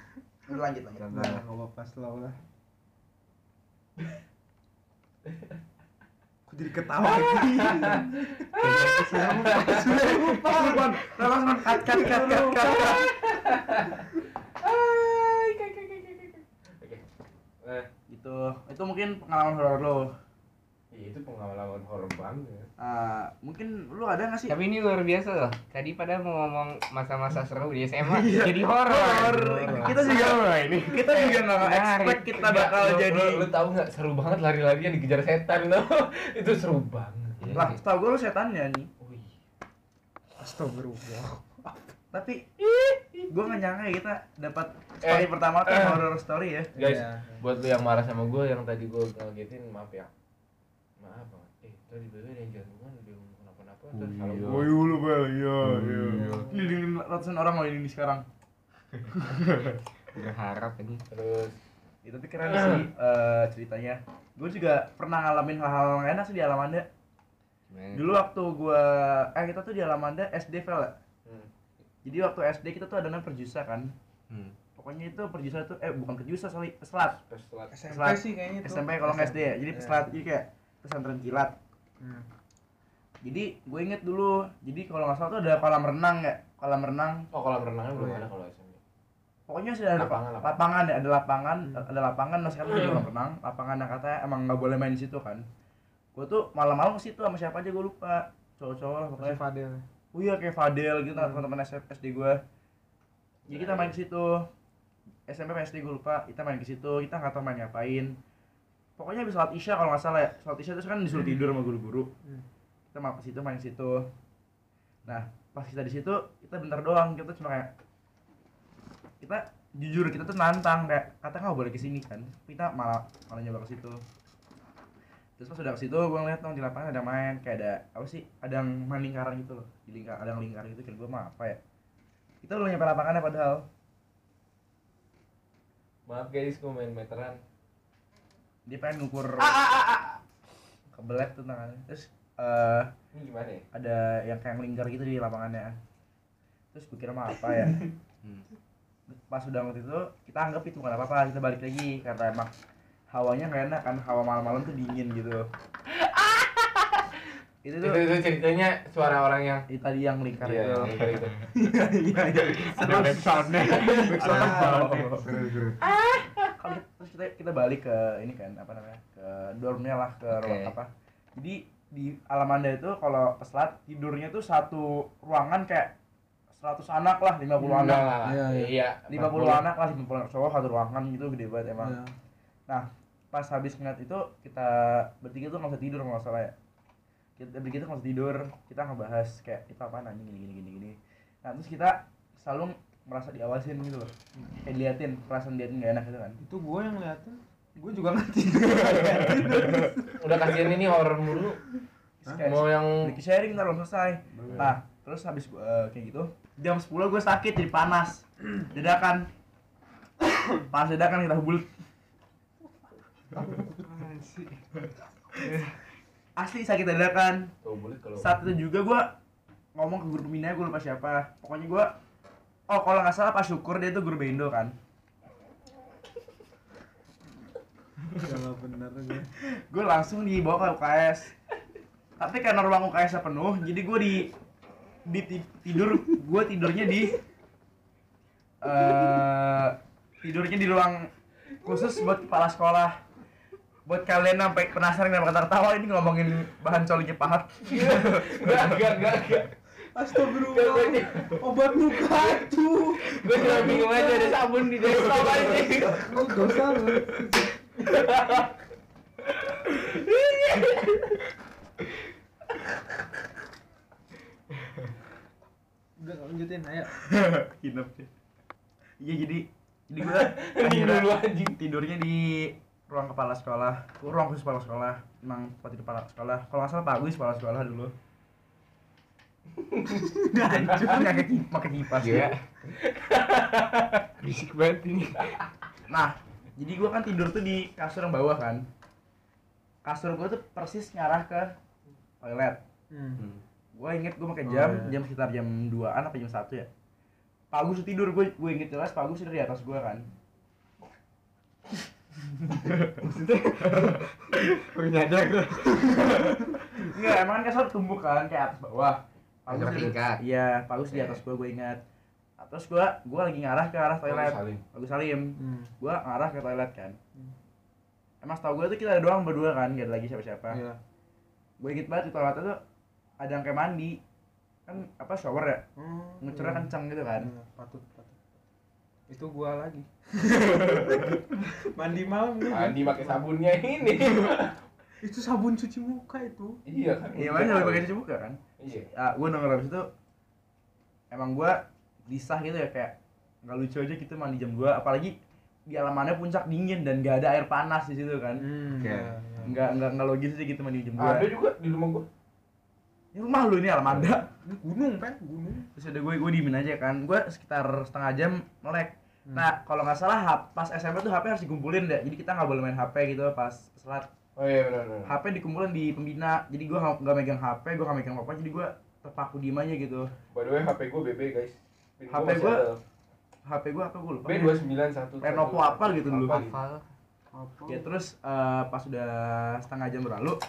Speaker 2: Udah lanjut lanjut.
Speaker 4: Nah, nggak apa-apa slow lah. Kok jadi ketawa lagi?
Speaker 2: Kesurupan. Terus man cut cut cut cut cut. cut.
Speaker 1: Ay, kek, kek, kek, kek, kek. Oke. Nah,
Speaker 2: Gitu. Itu mungkin pengalaman horor lo.
Speaker 1: iya, itu pengalaman horor banget. ya.
Speaker 2: Eh, mungkin lu ada nggak sih?
Speaker 3: Tapi ini luar biasa loh. Tadi pada mau ngomong masa-masa seru di SMA
Speaker 2: Iya.
Speaker 3: jadi horor.
Speaker 2: Horor. Kita juga ini. Kita juga nggak
Speaker 3: Menarik.
Speaker 2: expect kita bakal
Speaker 1: Lu-
Speaker 2: jadi.
Speaker 1: lu, lu tahu nggak seru banget lari-larian dikejar setan lo. itu seru banget.
Speaker 3: Iya.
Speaker 2: Lah, setahu gue lu setan ya nih.
Speaker 1: Wih.
Speaker 4: Astagfirullah.
Speaker 2: Tapi gue nggak nyangka ya kita dapat
Speaker 1: Eh,
Speaker 2: story pertama tuh
Speaker 1: eh.
Speaker 2: horror story ya.
Speaker 1: Guys,
Speaker 4: Iya.
Speaker 1: buat lu yang marah sama gue yang tadi gue ngagetin, maaf ya. Maaf banget. Eh, tadi bebe ada yang jantungan, dia kenapa-napa, terus salah
Speaker 3: Iya.
Speaker 1: gue.
Speaker 2: lu bel, iya
Speaker 3: iya.
Speaker 2: Ini dengan ratusan orang loh ini sekarang.
Speaker 3: Berharap ini.
Speaker 1: Terus
Speaker 2: Ya, tapi keren sih eh, ceritanya. Gue juga pernah ngalamin hal-hal nggak enak sih di Alamanda.
Speaker 3: Gimana?
Speaker 2: Dulu waktu gue, eh kita tuh di Alamanda SD Vel ya?
Speaker 1: hmm.
Speaker 2: Jadi waktu SD kita tuh ada namanya perjusa kan.
Speaker 3: Hmm.
Speaker 2: Pokoknya itu perjusa tuh, eh bukan perjusa, sorry, peselat.
Speaker 1: terus telat.
Speaker 4: SMP
Speaker 2: Selat-
Speaker 4: sih kayaknya tuh.
Speaker 2: SMP kalau nggak SD ya, jadi
Speaker 4: Iya.
Speaker 2: peselat, jadi kayak pesantren kilat.
Speaker 4: Hmm.
Speaker 2: Jadi gue inget dulu, jadi kalau nggak salah tuh ada kolam renang ya, kolam renang.
Speaker 1: Oh, kolam renangnya belum
Speaker 4: Oh, iya.
Speaker 1: ada kalau SMP.
Speaker 2: Pokoknya sudah ada
Speaker 1: Lapangan,
Speaker 2: lapangan,
Speaker 1: lapangan.
Speaker 2: lapangan ya, ada lapangan,
Speaker 4: Hmm.
Speaker 2: ada lapangan. Nah sekarang udah di kolam renang, lapangan yang katanya emang nggak boleh main di situ kan. Gue tuh malam-malam ke situ sama siapa aja gue lupa, cowok-cowok lah pokoknya.
Speaker 4: Masih Fadel.
Speaker 2: Oh iya kayak Fadel gitu
Speaker 4: Hmm.
Speaker 2: teman-teman S- SD gue. Jadi kita main ke situ. SMP apa SD gue lupa, kita main ke situ, kita nggak tahu main ngapain. Pokoknya habis sholat isya kalau nggak salah ya, sholat isya terus kan disuruh tidur sama guru-guru.
Speaker 4: Hmm.
Speaker 2: Kita mau ke situ main ke situ. Nah pas kita di situ kita bentar doang, kita cuma kayak kita jujur kita tuh nantang kayak kata nggak boleh kesini kan kita malah malah nyoba ke situ terus pas udah ke situ gue ngeliat dong di lapangan ada main kayak ada apa sih ada yang main lingkaran gitu loh di lingkar ada yang lingkar gitu kira gue mah apa ya kita udah nyampe lapangannya padahal
Speaker 5: Maaf guys, gue main meteran.
Speaker 2: dia pengen ngukur kebelet tuh tangannya terus eh
Speaker 5: Ini gimana ya?
Speaker 2: ada yang kayak lingkar gitu di lapangannya terus gue kira mah apa ya
Speaker 5: Hmm.
Speaker 2: pas udah ngeliat itu kita anggap itu nggak apa-apa kita balik lagi karena emang hawanya nggak enak kan hawa malam-malam tuh dingin gitu itu
Speaker 5: Itu,
Speaker 2: tuh
Speaker 5: itu ceritanya suara orang yang
Speaker 2: itu tadi yang lingkar
Speaker 5: Iya,
Speaker 2: itu
Speaker 5: yang kayak gitu.
Speaker 4: Iya, iya.
Speaker 3: Ada backsoundnya.
Speaker 2: Oh.
Speaker 4: Ah.
Speaker 2: Kalau kita- terus kita kita balik ke ini kan apa namanya ke dormnya lah ke
Speaker 5: Oke.
Speaker 2: ruang apa jadi di Alamanda itu kalau peslat tidurnya tuh satu ruangan kayak 100 anak lah 50 anak
Speaker 5: Enggak lah.
Speaker 4: Iya, iya.
Speaker 5: Iya.
Speaker 2: 50 anak lah 50 anak cowok satu ruangan gitu gede banget emang
Speaker 4: Iya.
Speaker 2: Nah, pas habis ngeliat itu kita bertiga tuh nggak usah tidur nggak salah ya kita bertiga tuh nggak usah tidur kita ngebahas kayak itu apa nanya gini gini gini gini nah terus kita selalu merasa diawasin gitu loh kayak diliatin perasaan diliatin nggak enak gitu kan
Speaker 4: Itu gue yang ngeliatin. Gue juga nggak tidur.
Speaker 5: Udah kasihan ini horor mulu.
Speaker 2: Terus
Speaker 4: Hah?
Speaker 2: kayak
Speaker 5: iya. Mau yang
Speaker 2: sedikit sharing ntar belum selesai nah terus habis gua, eh, kayak gitu jam 10 gue sakit jadi panas dadakan panas dadakan kita bulut asli sakit dadakan
Speaker 5: tuh boleh kalau
Speaker 2: saat itu juga gue ngomong ke guru pembina gue lupa siapa pokoknya gue oh kalau nggak salah pak syukur dia tuh guru bendo kan
Speaker 4: Kalau bener gue.
Speaker 2: gue langsung dibawa ke UKS tapi karena ruang UKS nya penuh jadi gue di, di ti- tidur gue tidurnya di eh tidurnya di ruang khusus buat kepala sekolah buat kalian yang sampai penasaran dan ketawa ini ngomongin bahan colinya pahat
Speaker 5: enggak enggak enggak. enggak.
Speaker 4: Astagfirullah. Obat muka itu.
Speaker 5: Gue cuma bingung aja ada sabun di desktop aja.
Speaker 4: Lu dosa lu. Udah lanjutin ayo.
Speaker 2: hidup sih. iya jadi jadi gue akhirnya
Speaker 5: dulu anjing.
Speaker 2: tidurnya di ruang kepala sekolah ruang khusus kepala sekolah emang tempat tidur kepala sekolah kalau nggak salah Pak Agus kepala sekolah dulu hancur nggak pakai kipas
Speaker 3: Iya. Bisik banget ini.
Speaker 2: nah jadi gua kan tidur tuh di kasur yang bawah kan kasur gua tuh persis ngarah ke toilet
Speaker 4: Hmm.
Speaker 2: gua inget gua pakai
Speaker 4: Oh,
Speaker 2: jam
Speaker 4: iya.
Speaker 2: jam sekitar jam 2an apa jam 1 ya Pak Agus tuh tidur gua gua inget jelas Pak Agus tidur di atas gua kan
Speaker 3: Baru nyadar gue.
Speaker 2: Enggak, emang kan kasur tumbuh kan kayak atas bawah.
Speaker 3: Kasur
Speaker 2: di-
Speaker 3: tingkat.
Speaker 2: Iya, bagus di atas gua gua ingat. Nah, Terus gua gua lagi ngarah ke arah toilet.
Speaker 5: Salim.
Speaker 2: Bagus Salim.
Speaker 4: Hmm.
Speaker 2: Gua ngarah ke toilet kan. Emang setahu gua tuh kita ada doang berdua kan, gak ada lagi siapa-siapa.
Speaker 4: Iya.
Speaker 2: Gua inget banget di toilet tuh ada yang kayak mandi. Kan apa shower ya?
Speaker 4: Hmm.
Speaker 2: Ngecurnya kenceng gitu kan.
Speaker 4: Iya, patut patut. Itu gua lagi. Mandi malam gua.
Speaker 5: Mandi pakai sabunnya ini.
Speaker 4: Itu sabun cuci muka itu.
Speaker 5: Iya kan.
Speaker 2: Iya, mana lebih pakai cuci muka kan?
Speaker 5: Iya.
Speaker 2: Ah, gua nongol habis itu emang gua disah gitu ya kayak nggak lucu aja gitu mandi jam gua apalagi di alamannya puncak dingin dan gak ada air panas di situ kan.
Speaker 4: Hmm.
Speaker 3: Oke.
Speaker 4: iya, iya.
Speaker 2: nggak nggak nggak logis sih gitu mandi jam dua
Speaker 5: Ada juga di rumah gue.
Speaker 2: ini rumah lu ini alamanda
Speaker 4: Ini gunung kan, gunung.
Speaker 2: terus udah gue gue diemin aja kan gue sekitar setengah jam melek nah kalau nggak salah hap- pas SMA tuh HP harus dikumpulin deh jadi kita nggak boleh main HP gitu pas selat
Speaker 5: Oh iya benar benar.
Speaker 2: HP dikumpulin di pembina jadi gue nggak nggak megang HP gue nggak megang apa jadi gue terpaku diem aja gitu
Speaker 5: By the way HP gue BB guys. Pin
Speaker 2: HP
Speaker 5: masih
Speaker 2: gua-
Speaker 5: ada.
Speaker 2: HP gue apa gue lupa
Speaker 5: B dua sembilan satu.
Speaker 2: Lenovo apa gitu dulu.
Speaker 3: Hafal.
Speaker 4: Apa?
Speaker 2: ya terus eh, pas udah setengah jam berlalu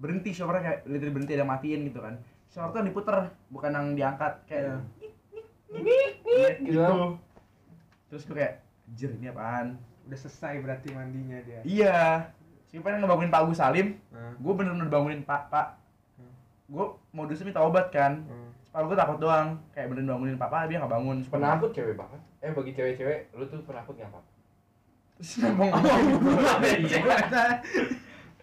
Speaker 2: berhenti showernya kayak literally berhenti ada yang matiin gitu kan shower tuh yang diputer bukan yang diangkat kayak
Speaker 5: Gitu.
Speaker 2: terus gue kayak anjir ini apaan
Speaker 4: Udah selesai berarti mandinya dia.
Speaker 2: iya sih pengen ngebangunin Pak Agus Salim
Speaker 4: Nah.
Speaker 2: gue bener-bener bangunin Pak Pak
Speaker 5: Hmm.
Speaker 2: gue modusnya minta obat kan
Speaker 4: Hmm.
Speaker 2: Pak gue takut doang kayak bener bangunin papa dia nggak bangun Terus gua-
Speaker 5: Penakut cewek banget. Eh bagi cewek-cewek, lu tuh penakut nggak apa?
Speaker 2: Terus ngomong Iya.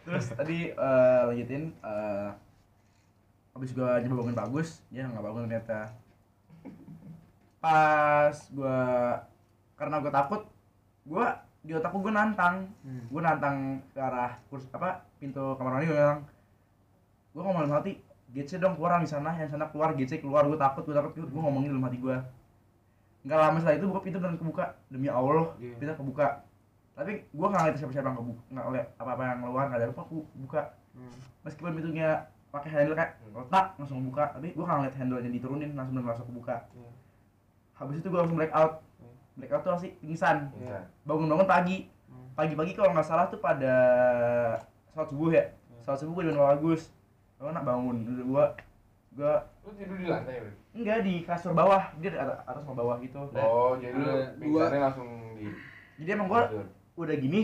Speaker 2: Terus tadi eh, lanjutin eh abis gua nyoba bangun bagus, dia nggak bangun ternyata. pas gua karena gua takut gua di otakku gua nantang
Speaker 4: Hmm.
Speaker 2: gua nantang ke arah kurs apa pintu kamar mandi gua bilang gua ngomong dalam hati GC dong keluar di sana yang sana keluar GC keluar gua takut gua takut gua ngomongin dalam hati gua nggak lama setelah itu buka pintu dan kebuka demi Allah
Speaker 1: Iya.
Speaker 2: pintu kebuka tapi gua nggak ngeliat siapa-siapa yang kebuka nggak ngeliat apa-apa yang keluar nggak ada apa aku buka
Speaker 1: Hmm.
Speaker 2: meskipun pintunya pakai handle kayak letak langsung buka tapi gua nggak ngeliat handle nya diturunin langsung bener langsung kebuka
Speaker 1: Iya.
Speaker 2: habis itu gua langsung black out
Speaker 1: Iya.
Speaker 2: black out tuh sih pingsan
Speaker 3: Bisa.
Speaker 2: bangun-bangun pagi
Speaker 1: Hmm.
Speaker 2: pagi-pagi kalau nggak salah tuh pada sholat subuh ya sholat subuh gue dengan Pak Agus gue nak bangun Udah gua gua
Speaker 3: Lu tidur di lantai, Beb?
Speaker 2: enggak di kasur bawah dia di atas, atas sama bawah gitu
Speaker 1: Nah.
Speaker 3: Oh, jadi lu
Speaker 4: ada
Speaker 3: pingsannya langsung di
Speaker 2: jadi emang
Speaker 1: Nah.
Speaker 2: gua
Speaker 3: tidur.
Speaker 2: udah gini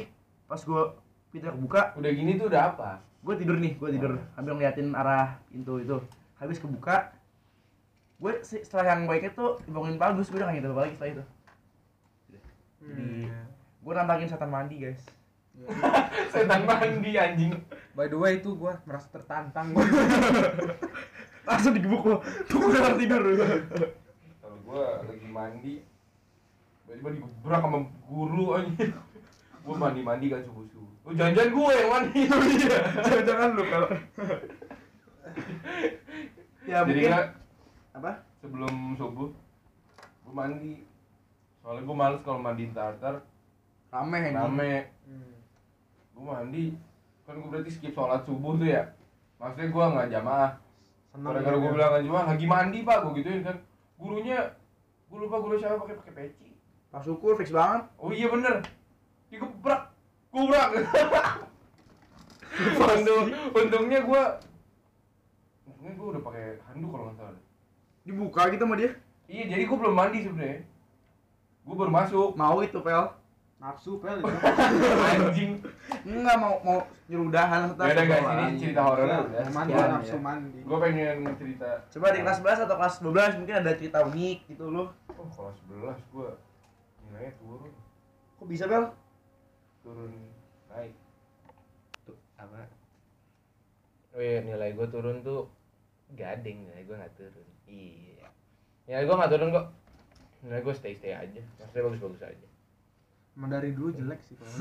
Speaker 2: pas gua pintu kebuka
Speaker 3: Udah gini tuh udah apa?
Speaker 2: gue tidur nih gue tidur sambil ngeliatin arah pintu itu habis kebuka gue setelah yang baiknya tuh bangunin bagus gue udah gak ngitung lagi setelah itu
Speaker 4: Hmm,
Speaker 2: Jadi-
Speaker 4: iya.
Speaker 2: gue nantangin setan mandi guys
Speaker 3: Setan mandi anjing.
Speaker 4: By the way itu gua merasa tertantang.
Speaker 2: langsung digebuk gue tuh gue udah tidur
Speaker 3: Kalau gua lagi mandi tiba-tiba digebrak sama guru anjing. Gua mandi-mandi kan subuh-subuh. Lu janjian gua yang mandi.
Speaker 2: jangan jangan lu kalau ya
Speaker 3: Jadi
Speaker 2: mungkin
Speaker 3: gak
Speaker 2: apa
Speaker 3: sebelum subuh gua mandi. Soalnya gua males kalau mandi tartar
Speaker 4: Rame yang
Speaker 3: rame. Gua mandi kan gua berarti skip sholat subuh tuh ya. Maksudnya gua nggak jamaah.
Speaker 4: ya
Speaker 3: Gara-gara gua bilang nggak jamaah lagi mandi pak, gua gituin kan. Gurunya gua lupa guru siapa pakai pakai peci.
Speaker 2: pas syukur fix banget
Speaker 3: Oh iya bener. Digebrak. Gubrak. Untung, untungnya gua untungnya gua udah pakai handuk kalau nggak salah.
Speaker 2: dibuka gitu sama dia
Speaker 3: Iya, jadi gua belum mandi sebenarnya. Gua baru masuk.
Speaker 2: mau itu pel
Speaker 4: Nafsu pel.
Speaker 3: Anjing.
Speaker 2: enggak mau mau nyerudahan setan
Speaker 3: Ya udah guys, ini
Speaker 2: Bawaan.
Speaker 3: cerita
Speaker 4: Iya,
Speaker 3: horornya udah.
Speaker 4: Mandi
Speaker 2: sekian,
Speaker 4: nafsu
Speaker 2: ya.
Speaker 4: mandi.
Speaker 3: Iya. Gua pengen cerita
Speaker 2: coba di kelas 11 atau kelas 12 mungkin ada cerita unik gitu loh
Speaker 3: oh kelas 11 gua nilainya turun,
Speaker 2: kok bisa pel
Speaker 3: turun naik.
Speaker 1: Tuh, apa? Oh iya, nilai gue turun tuh gading, nilai gue nggak turun. Iya. Nilai gue nggak turun kok. Nilai gue stay stay aja. Maksudnya bagus-bagus aja.
Speaker 4: Emang dari dulu jelek sih kalau.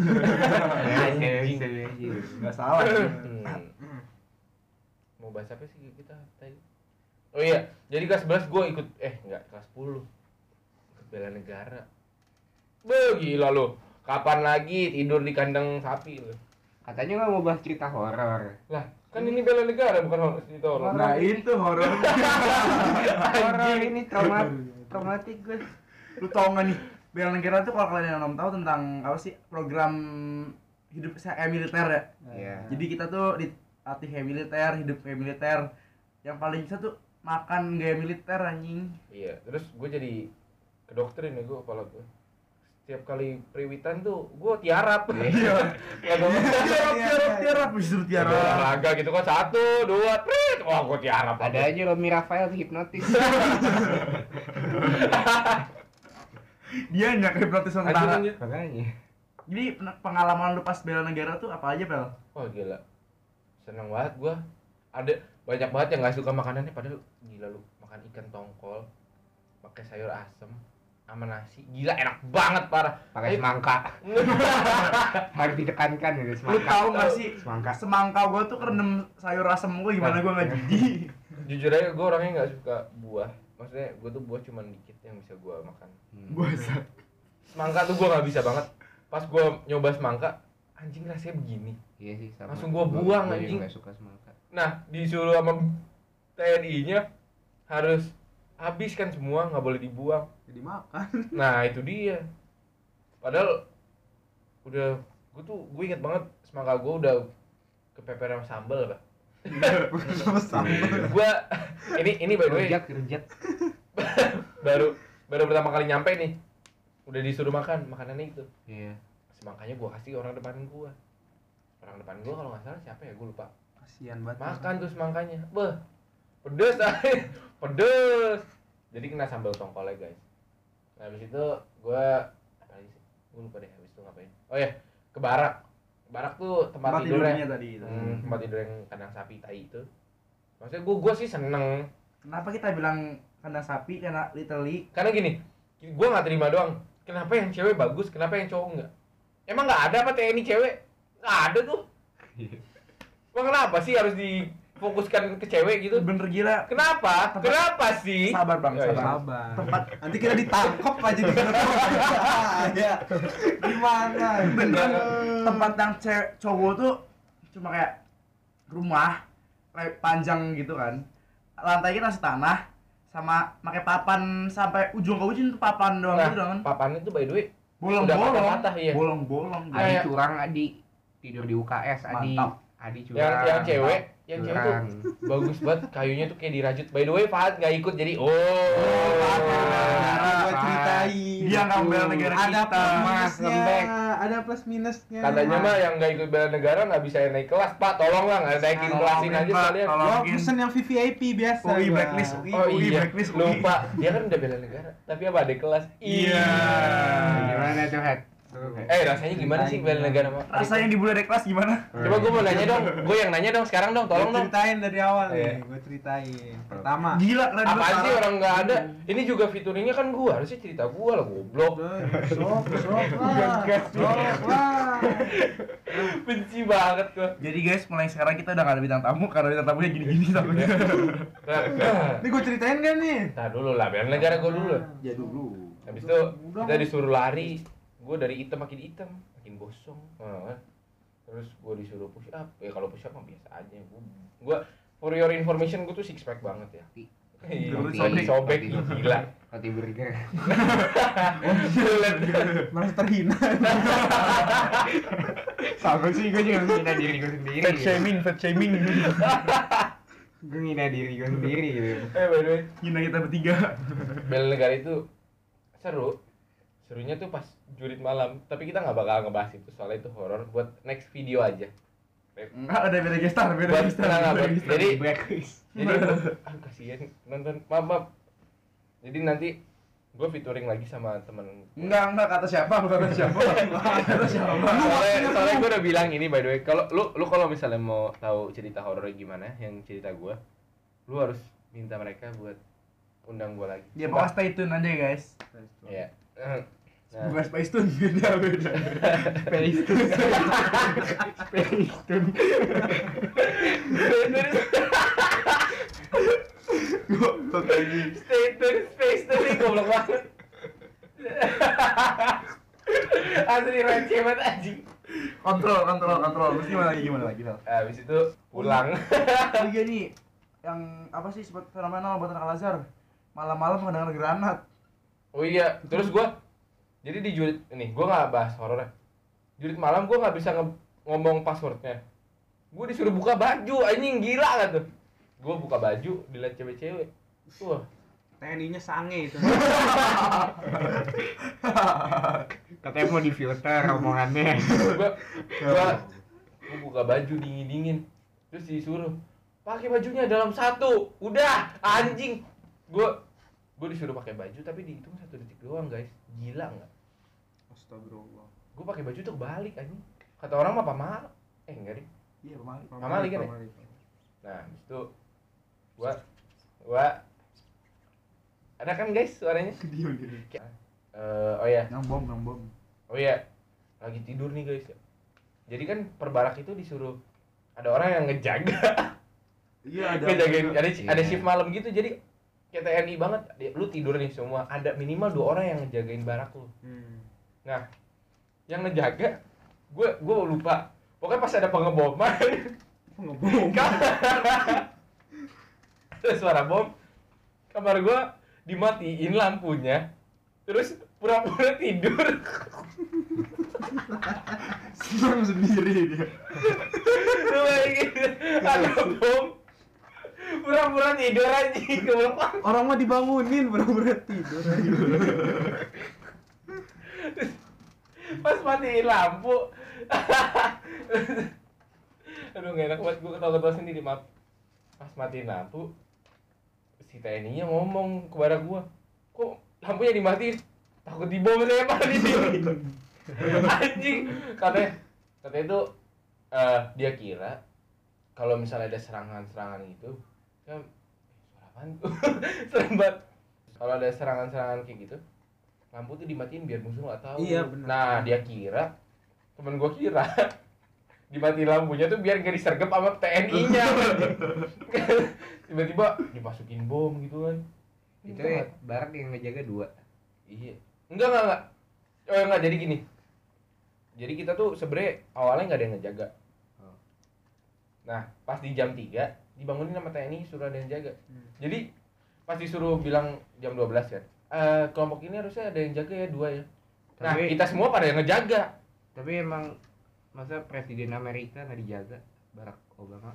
Speaker 3: Iya,
Speaker 1: Anjing.
Speaker 2: Gak salah sih.
Speaker 1: Hmm. Mau bahas apa sih kita tadi? Oh iya, jadi kelas 11 gue ikut eh enggak kelas 10. Ikut bela negara. Beuh, gila lo. Kapan lagi tidur di kandang sapi lo?
Speaker 3: Katanya nggak mau bahas cerita horor.
Speaker 1: Lah, kan ini bela negara bukan horor cerita horor.
Speaker 2: Nah itu horor.
Speaker 1: Horor ini trauma
Speaker 4: Traumatik gue.
Speaker 2: Lu tau gak nih? Bela negara tuh kalau kalian yang belum tahu tentang apa sih program hidup saya kayak militer ya.
Speaker 4: Iya.
Speaker 2: Jadi kita tuh dilatih kayak militer, hidup kayak militer. Yang paling bisa tuh makan gaya militer anjing.
Speaker 1: Iya, terus gue jadi ke dokterin ya gue kepala gue. Setiap kali priwitan tuh gue tiarap. Iya.
Speaker 2: Tiarap, tiarap, tiarap, disuruh Iya. tiarap.
Speaker 1: Olahraga gitu kan satu, dua, trit. Wah, gue tiarap.
Speaker 3: Ada aja Romi Rafael hipnotis.
Speaker 2: Dia nyak hipnotis sama
Speaker 1: Lanjut,
Speaker 2: tangan.
Speaker 1: lanjut.
Speaker 3: Makanya.
Speaker 2: Jadi pen- pengalaman lu pas bela negara tuh apa aja, Pel?
Speaker 1: Wah gila Seneng banget gua Ada banyak banget yang gak suka makanannya Padahal gila lu Makan ikan tongkol pakai sayur asem sama nasi gila enak banget parah
Speaker 3: Pakai semangka. Harus ditekankan ya
Speaker 2: Lu tau gak sih
Speaker 3: Semangka.
Speaker 2: semangka Nah. gua tuh kerendam sayur asem gua gimana gua gak jadi.
Speaker 1: jujur aja gua orangnya gak suka buah maksudnya gua tuh buah cuman dikit yang bisa gua makan
Speaker 2: Gua
Speaker 1: semangka tuh gua gak bisa banget pas gua nyoba semangka anjing rasanya begini
Speaker 3: Iya sih sama.
Speaker 1: Langsung gua buang,
Speaker 3: Gua juga
Speaker 1: anjing.
Speaker 3: nggak suka semangka.
Speaker 1: nah disuruh sama TNI-nya harus habiskan semua nggak boleh dibuang
Speaker 4: Jadi makan.
Speaker 1: Nah itu dia. Padahal udah gue tuh gue inget banget semangka gue udah kepeper sama sambel pak.
Speaker 4: Iya.
Speaker 1: Gue ini ini by the way
Speaker 3: Rujak, rujak.
Speaker 1: baru baru pertama kali nyampe nih udah disuruh makan makanannya itu
Speaker 3: Iya.
Speaker 1: semangkanya gue kasih orang depan gue orang depan gue kalau nggak salah siapa ya gue lupa
Speaker 4: Kasihan banget.
Speaker 1: makan tuh semangkanya beh pedes ay. pedes jadi kena sambal tongkolnya guys nah habis itu gua apa lagi sih gue lupa deh habis itu ngapain oh ya ke barak barak tuh tempat,
Speaker 2: tempat
Speaker 1: tidurnya
Speaker 2: tidurnya tadi gitu. itu.
Speaker 1: Hmm, tempat tidur yang kandang sapi tai itu maksudnya gua gua sih seneng
Speaker 2: Kenapa kita bilang kena sapi kena literally
Speaker 1: Karena gini, gue nggak terima doang. Kenapa yang cewek bagus, kenapa yang cowok nggak? Emang nggak ada apa TNI cewek? Nggak ada tuh. Emang kenapa sih harus difokuskan ke cewek gitu?
Speaker 2: bener gila
Speaker 1: Kenapa?
Speaker 2: Tempat-
Speaker 1: Kenapa sih?
Speaker 2: sabar bang
Speaker 1: Ya, ya.
Speaker 2: sabar
Speaker 4: Sabar.
Speaker 2: tempat
Speaker 4: Nanti kita ditangkap aja di sana.
Speaker 2: Iya.
Speaker 4: Ya. Gimana?
Speaker 2: bener tempat yang cewek cowok tuh cuma kayak rumah le- panjang gitu kan lantainya masih tanah sama pakai papan sampai ujung ke ujung tuh papan doang
Speaker 1: Nah,
Speaker 2: gitu kan
Speaker 1: papannya tuh by the way
Speaker 2: bolong-bolong
Speaker 1: patah-patah, iya.
Speaker 2: bolong-bolong
Speaker 1: Ah,
Speaker 3: Adi
Speaker 1: Kayak-
Speaker 3: curang Adi tidur di UKS Adi
Speaker 2: Mantap.
Speaker 3: Adi curang.
Speaker 1: yang yang cewek, yang cewek tuh
Speaker 3: curang.
Speaker 1: bagus banget kayunya tuh kayak dirajut. By the way, Fahad nggak ikut jadi oh.
Speaker 3: Fahad nggak
Speaker 2: Iya,
Speaker 4: Nah,
Speaker 3: Parah,
Speaker 4: gua
Speaker 3: parah.
Speaker 4: ceritain.
Speaker 2: dia nggak bela negara
Speaker 4: Ada
Speaker 2: kita
Speaker 4: plus
Speaker 3: Mas,
Speaker 4: minusnya.
Speaker 3: lembek.
Speaker 4: Ada plus minusnya.
Speaker 1: Katanya mah yang nggak ikut bela negara nggak bisa naik kelas, Pak. Tolong lah, nggak naikin
Speaker 2: Iya, Tolong,
Speaker 1: kelasin aja
Speaker 2: Pak,
Speaker 1: sekalian.
Speaker 2: tolong.
Speaker 4: Gua
Speaker 2: Login.
Speaker 4: pesen yang VVIP biasa.
Speaker 2: UI
Speaker 4: gua.
Speaker 2: blacklist UI
Speaker 1: Oh
Speaker 2: UI
Speaker 1: iya,
Speaker 2: blacklist UI
Speaker 1: lupa. Dia kan udah bela negara, tapi apa ada kelas?
Speaker 2: Iya.
Speaker 3: Nah, Gimana tuh head?
Speaker 1: Eh, rasanya gimana sih bela negara, Pak?
Speaker 2: rasanya di bulan dari kelas gimana
Speaker 1: Coba gue mau nanya dong, gue yang nanya dong sekarang dong, tolong
Speaker 4: Gua
Speaker 1: dong.
Speaker 4: ceritain dari awal
Speaker 1: Iya.
Speaker 4: nih, gue ceritain. Pertama,
Speaker 2: gila keren
Speaker 1: Apaan sih
Speaker 2: parah.
Speaker 1: orang nggak ada?
Speaker 2: Hmm.
Speaker 1: Ini juga fiturnya kan gua, harusnya cerita gua lah goblok.
Speaker 4: sok, sok lah, sok lah.
Speaker 1: Benci banget gua.
Speaker 2: jadi guys mulai sekarang kita udah gak ada bintang tamu karena bintang tamunya gini-gini takutnya
Speaker 4: Ini gue ceritain kan nih?
Speaker 1: Nah dulu lah, bela negara gua dulu.
Speaker 4: Ya dulu.
Speaker 1: Habis itu kita disuruh lari, gua dari item makin item, makin gosong. Nah, kan. Terus gua disuruh push up, ya kalau push up mah biasa aja. Gua, gua for your information gua tuh six pack banget ya. Iya,
Speaker 2: Dulu
Speaker 1: sobek,
Speaker 3: sobek.
Speaker 1: sobek, gila.
Speaker 3: Roti burger.
Speaker 4: Merasa terhina.
Speaker 3: Sama sih gue juga menghina diri gue sendiri.
Speaker 2: fat shaming fat shaming
Speaker 3: Gue menghina diri gue sendiri. gitu.
Speaker 1: Eh, by the way,
Speaker 2: gina kita bertiga
Speaker 1: bela negara itu seru serunya tuh pas jurit malam tapi kita nggak bakal ngebahas itu soalnya itu horor buat next video aja
Speaker 2: Enggak ada beda gestar, beda
Speaker 1: buat
Speaker 2: gestar.
Speaker 1: nah, nah, buat- jadi
Speaker 3: Blacklist.
Speaker 1: jadi ah, kasihan nonton maaf maaf jadi nanti gue featuring lagi sama temen
Speaker 2: Enggak, enggak kata siapa, bukan kata siapa. kata siapa.
Speaker 1: soalnya, soalnya gue udah bilang ini by the way kalau lu lu kalau misalnya mau tahu cerita horornya gimana yang cerita gue lu harus minta mereka buat undang gue lagi
Speaker 2: Ya pokoknya stay tune aja guys.
Speaker 1: ya
Speaker 2: Bukan Space Tune, beda beda.
Speaker 3: Space Tune. Space Tune.
Speaker 1: Status space tuh nih goblok banget. Asli receh banget anjing.
Speaker 2: Kontrol, kontrol, kontrol. Terus gimana lagi, gimana lagi? Nal?
Speaker 1: Habis itu pulang.
Speaker 2: Oh iya nih, yang apa sih sempat fenomenal buat anak Lazar? Malam-malam mendengar granat.
Speaker 1: Oh iya, terus gua jadi di jurit nih, gua nggak bahas horornya. Jurit malam gua nggak bisa nge- ngomong passwordnya. Gua disuruh buka baju, anjing gila kan tuh. Gua buka baju, dilihat cewek-cewek. Wah,
Speaker 4: TNI-nya sange itu.
Speaker 3: Katanya mau di filter omongannya.
Speaker 1: gua gua gua buka baju dingin dingin terus disuruh pakai bajunya dalam satu udah anjing gua gua disuruh pakai baju tapi dihitung satu detik doang guys gila nggak
Speaker 4: Astagfirullah.
Speaker 1: gua pakai baju tuh kebalik anjing kata orang mah pamal eh enggak deh
Speaker 2: Iya, kemarin.
Speaker 1: Pamal lagi, Nek. nah habis itu gua gua ada kan guys suaranya
Speaker 2: Diam, diam.
Speaker 1: Eh, oh ya
Speaker 2: Yang bom, yang bom.
Speaker 1: Oh iya, lagi tidur nih guys ya. Jadi kan perbarak itu disuruh ada orang yang ngejaga.
Speaker 2: Iya, ada-
Speaker 1: Ngejagain, ada ada
Speaker 3: Iya.
Speaker 1: shift malam gitu jadi kayak TNI banget. Di- Lu tidur nih semua, ada minimal dua orang yang ngejagain barak lu.
Speaker 4: Hmm.
Speaker 1: Nah, yang ngejaga gue gue lupa. Pokoknya pas ada pengeboman,
Speaker 4: Ngebom.
Speaker 1: kamar- Kan? terus suara bom, kamar gue dimatiin lampunya, terus pura-pura tidur.
Speaker 2: Kan Senang sendiri dia.
Speaker 1: Lu bayangin, ada bom pura-pura tidur aja kebelokan
Speaker 4: Orang mah dibangunin pura-pura tidur.
Speaker 1: pas matiin lampu aduh gak enak banget gue ketawa-ketawa sendiri maaf pas matiin lampu si TNI nya ngomong kepada gue kok lampunya dimatiin takut dibom saya pak di sini anjing katanya katanya itu eh, dia kira "Eh, kalau misalnya ada serangan-serangan gitu kan suara apaan tuh serem banget Kalau ada serangan-serangan kayak gitu, lampu tuh dimatiin biar musuh nggak tahu.
Speaker 4: Iya, benar.
Speaker 1: Nah dia kira, temen gua kira dimatiin lampunya tuh biar nggak disergap sama TNI-nya. Tiba-tiba dimasukin bom gitu kan.
Speaker 3: Itu ya, barat yang ngejaga dua.
Speaker 1: Iya. Enggak enggak enggak. Oh enggak jadi gini. Jadi kita tuh sebenernya awalnya nggak ada yang ngejaga.
Speaker 3: Oh.
Speaker 1: Nah pas di jam 3 dibangunin sama TNI suruh ada yang jaga.
Speaker 3: Hmm.
Speaker 1: Jadi pas disuruh bilang jam 12 kan. Eh kelompok ini harusnya ada yang jaga ya dua ya. Nah
Speaker 3: Tapi-
Speaker 1: kita semua pada yang ngejaga.
Speaker 3: Tapi emang masa presiden Amerika nggak dijaga Barack Obama?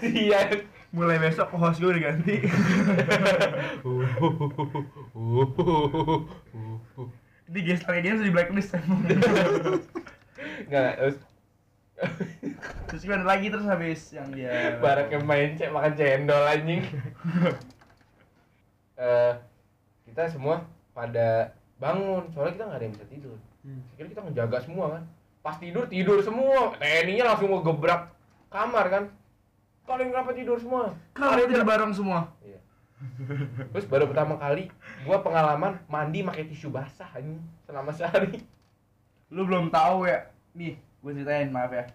Speaker 1: Iya.
Speaker 2: Mulai besok host gue diganti. Di gesternya dia sudah di blacklist emang.
Speaker 1: Enggak enggak. Terus
Speaker 2: Terus gimana lagi terus habis yang dia
Speaker 1: Barak yang main cek makan cendol anjing. Eh, kita semua pada bangun, soalnya kita nggak ada yang bisa tidur.
Speaker 4: Hmm.
Speaker 1: Akhirnya kita ngejaga semua kan. Pas tidur tidur semua. TNI-nya langsung ngegebrak kamar kan. Kalian kenapa tidur semua?
Speaker 2: Kalau itu bareng semua.
Speaker 1: Iya. Terus baru pertama kali gua pengalaman mandi pakai tisu basah anjing selama sehari.
Speaker 2: Lu belum tahu ya. Nih, gue ceritain maaf ya.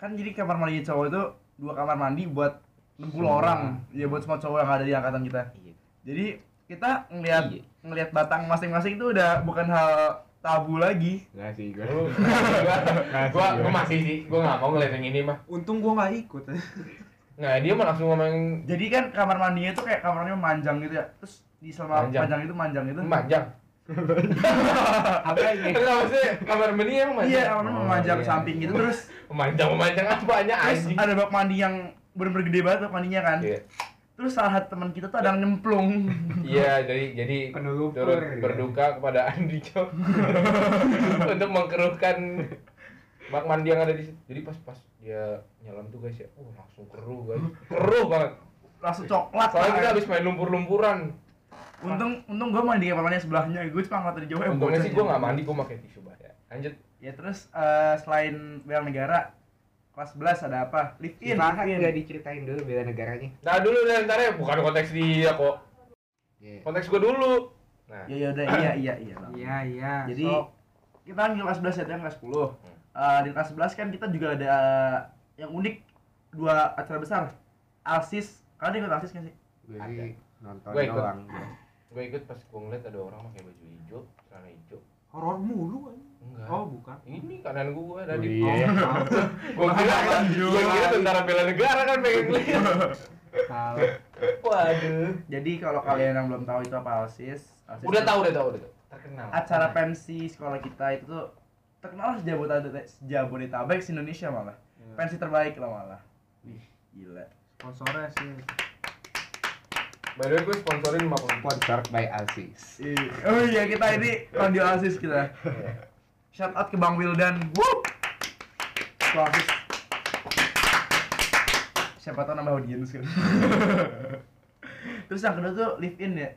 Speaker 2: Kan jadi kamar mandi cowok itu dua kamar mandi buat 60 orang. Ya buat semua cowok yang ada di angkatan kita.
Speaker 1: Iya.
Speaker 2: Jadi kita ngelihat
Speaker 1: Iya.
Speaker 2: ngelihat batang masing-masing itu udah bukan hal tabu lagi.
Speaker 1: Iya.
Speaker 3: Enggak sih gue.
Speaker 1: Gua, gua, gua masih sih, gua nggak mau ngeliat yang ini mah.
Speaker 4: Untung gua nggak ikut.
Speaker 1: Nah dia mah langsung ngomong
Speaker 2: Jadi kan kamar mandinya tuh kayak kamarnya manjang gitu ya. Terus di selama
Speaker 1: Manjang.
Speaker 2: panjang, itu gitu. manjang itu.
Speaker 1: manjang. Eh,
Speaker 3: Apa ini?
Speaker 1: Enggak maksudnya kamar mandi yang manjang.
Speaker 2: Iya, kamarnya
Speaker 3: Oh,
Speaker 2: memanjang
Speaker 3: iya.
Speaker 2: samping gitu terus
Speaker 1: Memanjang memanjang apanya
Speaker 2: terus
Speaker 1: anjing.
Speaker 2: ada bak mandi yang bener-bener gede banget bak mandinya kan.
Speaker 1: Iya.
Speaker 2: Terus salah satu teman kita tuh ada yang nyemplung.
Speaker 1: Iya, jadi jadi
Speaker 3: Penelupur,
Speaker 1: turut
Speaker 2: gitu.
Speaker 3: ya.
Speaker 1: berduka kepada Andi Cok untuk mengkeruhkan bak mandi yang ada di situ. Jadi pas pas dia nyelam tuh guys ya, uh langsung keruh guys, keruh banget.
Speaker 2: Langsung coklat.
Speaker 1: Soalnya
Speaker 2: kan.
Speaker 1: kita habis main lumpur-lumpuran.
Speaker 2: Untung untung gua mandi di kamar mandi sebelahnya. Gue cuma ngeliat dari jauh. eh,
Speaker 1: Untungnya
Speaker 2: bocah
Speaker 1: sih
Speaker 2: nih.
Speaker 1: gue nggak mandi, gue pakai tisu basah. Lanjut.
Speaker 2: Ya terus eh, selain bela negara kelas 11 ada apa? Live in.
Speaker 3: Masa nggak diceritain dulu bela negaranya?
Speaker 1: Nah dulu deh, ntar ya bukan konteks dia kok,
Speaker 3: Iya.
Speaker 1: konteks gue dulu. Nah,
Speaker 2: Ya ya udah iya iya iya.
Speaker 4: Iya iya.
Speaker 2: Jadi kita kan di kelas 11 ya, ada yang kelas 10.
Speaker 1: Hmm.
Speaker 2: Eh, di kelas 11 kan kita juga ada yang unik dua acara besar. Alsis, kalian ikut Alsis kan sih?
Speaker 3: Gue sih nonton
Speaker 1: Gua ikut.
Speaker 3: doang.
Speaker 1: gue ikut pas gue ngeliat ada orang pakai baju hijau, celana hijau.
Speaker 4: horor mulu kan.
Speaker 1: Enggak.
Speaker 4: Oh, bukan. Oh,
Speaker 1: Ini kanan gue
Speaker 3: Oh,
Speaker 1: tadi.
Speaker 3: Iya.
Speaker 1: Gua kira kan, gua kira tentara bela negara kan pengen lihat.
Speaker 3: Kalau
Speaker 1: Waduh.
Speaker 2: Jadi kalau kalian yang belum tahu itu apa Alsis, Alsis
Speaker 1: Udah
Speaker 2: itu
Speaker 1: tahu, udah tahu, udah tahu. Terkenal.
Speaker 2: acara pensi sekolah kita itu tuh terkenal sejabodetabek sejabodetabek se Indonesia malah.
Speaker 4: Iya.
Speaker 2: Pensi terbaik lah malah. Wih, gila.
Speaker 4: Sponsornya sih.
Speaker 1: By the way, gue sponsorin 50
Speaker 3: sponsored by Alsis.
Speaker 2: Ih, Oh iya kita ini radio Alsis kita. Shout out ke Bang Wildan. Woo! Ketua Alsis. Siapa tahu nambah audiens kan. Terus yang kedua tuh live in ya.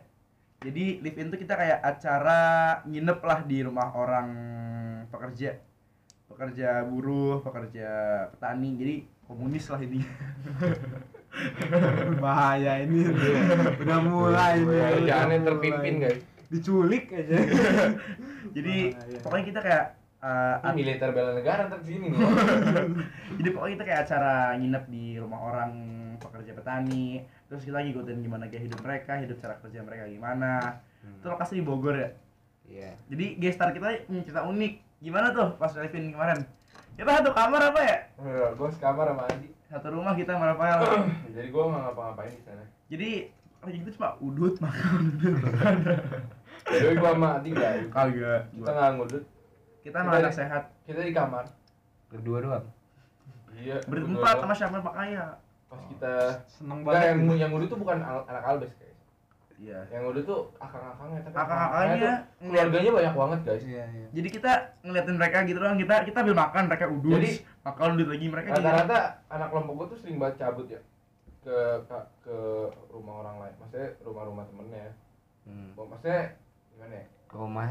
Speaker 2: Jadi live in tuh kita kayak acara nginep lah di rumah orang pekerja. Pekerja buruh, pekerja petani. Jadi komunis lah ini.
Speaker 4: Bahaya ini. Udah mulai ini.
Speaker 1: Kerjaan yang
Speaker 4: udah
Speaker 1: Iya, terpimpin,
Speaker 4: mulai.
Speaker 1: guys.
Speaker 4: Diculik aja.
Speaker 2: Jadi
Speaker 4: Bahaya.
Speaker 2: pokoknya kita kayak eh,
Speaker 1: Ini Ah, militer bela negara ntar di sini nih.
Speaker 2: Jadi pokoknya kita kayak acara nginep di rumah orang pekerja petani, terus kita ngikutin gimana gaya hidup mereka, hidup cara kerja mereka gimana. Itu lokasi di Bogor ya.
Speaker 3: Iya.
Speaker 2: Jadi gestar kita hmm, cerita unik. Gimana tuh pas Revin kemarin? Kita satu kamar apa ya?
Speaker 1: gue sekamar sama Andi.
Speaker 2: Satu rumah kita sama Rafael.
Speaker 1: Jadi gue nggak ngapa-ngapain di sana.
Speaker 2: Jadi lagi itu cuma udut makan udut makan.
Speaker 1: By the way, gue sama Andi nggak.
Speaker 2: Kagak.
Speaker 1: Kita nggak ngudut.
Speaker 2: Kita malah anak sehat.
Speaker 1: Kita di kamar.
Speaker 3: Berdua doang.
Speaker 1: Iya.
Speaker 2: Berempat sama siapa ya? Pak Kaya.
Speaker 1: Pas kita.
Speaker 4: Seneng
Speaker 1: Enggak,
Speaker 4: banget.
Speaker 1: yang
Speaker 4: gitu.
Speaker 2: ya?
Speaker 1: yang ngudut tuh bukan al- anak albes guys.
Speaker 2: Iya.
Speaker 1: Yang ngudut tuh akang-akangnya. Tapi
Speaker 2: Kakak-kakaknya
Speaker 1: akang-akangnya tuh keluarganya banyak banget guys.
Speaker 4: Iya iya.
Speaker 2: jadi kita ngeliatin mereka gitu doang kita kita ambil makan mereka udut
Speaker 1: Jadi-
Speaker 2: makan udut lagi mereka jadi
Speaker 1: rata-rata anak kelompok gue tuh sering banget cabut ya ke ke, ke rumah orang lain maksudnya rumah-rumah temennya
Speaker 3: Hmm.
Speaker 1: Gua- maksudnya gimana ya
Speaker 3: Ke rumah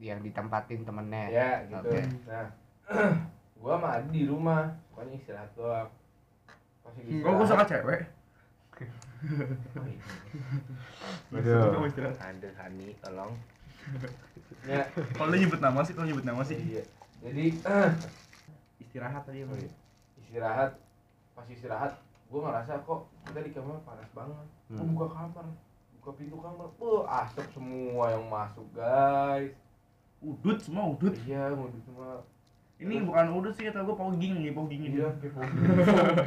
Speaker 3: yang ditempatin temennya.
Speaker 1: ya gitu
Speaker 3: Oke.
Speaker 1: nah gua sama Adi di rumah pokoknya istirahat Oh, iya. doang Masih
Speaker 2: Kok gue suka cewek?
Speaker 6: Aduh.
Speaker 3: Anda Hani, tolong.
Speaker 1: Ya,
Speaker 2: Kalau lu nyebut nama sih, kalau nyebut nama sih.
Speaker 1: iya. Jadi
Speaker 2: Istirahat tadi ya. Bang.
Speaker 1: istirahat pas istirahat gue ngerasa kok kita di kamar panas banget Gua
Speaker 6: Hmm.
Speaker 1: buka kamar buka pintu kamar wah asap semua yang masuk guys
Speaker 2: Udut semua udut.
Speaker 1: iya ngudut semua
Speaker 2: Ini bukan udut sih, kata gue pogging nih, pogging ini.
Speaker 1: iya kayak mau-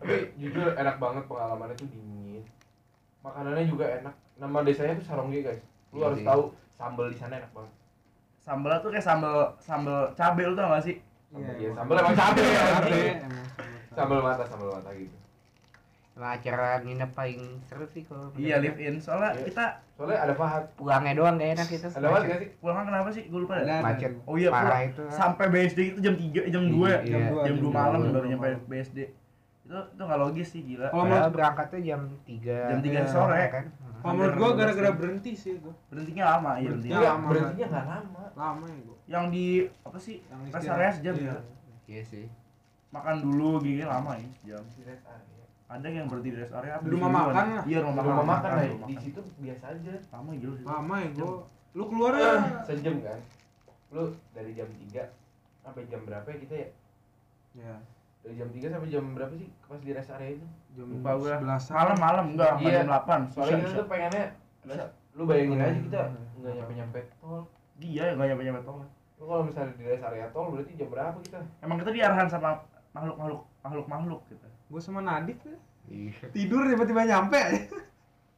Speaker 1: tapi jujur enak banget pengalamannya tuh dingin makanannya juga enak nama desanya tuh sarongge guys lu harus
Speaker 3: Iya.
Speaker 1: tahu sambel di sana enak banget
Speaker 2: Sambelnya tuh kayak sambel sambel cabe lu tau gak sih?
Speaker 1: Sambel, iya,
Speaker 4: emang.
Speaker 1: sambel emang cabe ya.
Speaker 4: Iya, emang.
Speaker 1: Sambel mata, sambel mata gitu.
Speaker 7: Nah, acara nginep paling seru sih kalau
Speaker 2: Iya, live in. Soalnya
Speaker 1: Iya.
Speaker 2: kita
Speaker 1: Soalnya ada pahat.
Speaker 7: Pulangnya doang gak enak itu.
Speaker 1: Ada pahat gak sih?
Speaker 2: pulang kenapa sih? Gue lupa
Speaker 4: Ada,
Speaker 2: dah.
Speaker 4: ada.
Speaker 7: Macet.
Speaker 2: Oh iya,
Speaker 7: Parah
Speaker 2: pulang.
Speaker 7: itu.
Speaker 2: sampai BSD itu gitu, jam 3, jam 2,
Speaker 4: Jam
Speaker 7: Iya.
Speaker 4: dua,
Speaker 2: jam 2
Speaker 4: dua
Speaker 2: malam
Speaker 4: malam.
Speaker 2: baru nyampe BSD. Itu itu nggak logis sih gila.
Speaker 4: Kalau
Speaker 7: Padahal
Speaker 4: menurut-
Speaker 7: berangkatnya jam 3.
Speaker 2: Jam 3
Speaker 4: Iya.
Speaker 2: sore.
Speaker 7: kan.
Speaker 3: Hmm.
Speaker 4: kalau menurut gue gara-gara berhenti sih gue
Speaker 2: Berhentinya lama, iya berhentinya.
Speaker 4: Berhentinya
Speaker 1: Enggak,
Speaker 4: lama,
Speaker 1: berhentinya nggak lama.
Speaker 4: lama ya gue
Speaker 2: Yang di apa sih?
Speaker 4: yang
Speaker 2: Rest
Speaker 4: istirahat.
Speaker 2: area sejam
Speaker 4: Iya.
Speaker 2: ya.
Speaker 7: Iya sih.
Speaker 2: Makan dulu gini lama ya, jam.
Speaker 1: Di rest area.
Speaker 2: Ada yang berhenti di rest area apa
Speaker 4: Di
Speaker 2: di
Speaker 4: rumah
Speaker 2: situ,
Speaker 4: makan
Speaker 2: kan?
Speaker 4: lah.
Speaker 2: Iya, rumah makan.
Speaker 1: Rumah makan
Speaker 2: rumah
Speaker 1: lah,
Speaker 2: makan.
Speaker 1: di situ biasa aja.
Speaker 2: Lama gila sih.
Speaker 4: lama ya gue lu keluar ya
Speaker 2: Ah.
Speaker 1: Eh, sejam kan lu dari jam 3 sampai jam berapa ya kita ya
Speaker 4: ya
Speaker 1: dari jam 3 sampai jam berapa sih pas di rest area itu
Speaker 4: jam
Speaker 2: Lupa gua.
Speaker 4: sebelasan
Speaker 2: Malam-malam enggak, sampai
Speaker 1: Iya.
Speaker 2: jam 8.
Speaker 1: soalnya
Speaker 2: Soalnya
Speaker 1: kita tuh pengennya rest- lu bayangin aja kita
Speaker 4: Bisa.
Speaker 1: nggak nyampe nyampe tol
Speaker 2: dia yang enggak nyampe-nyampe tol.
Speaker 1: lu kalau misalnya di rest area tol berarti jam berapa kita
Speaker 2: Emang kita diarahan sama makhluk-makhluk makhluk-makhluk gitu.
Speaker 4: gue sama Nadif ya.
Speaker 3: Iya.
Speaker 4: tidur tiba-tiba nyampe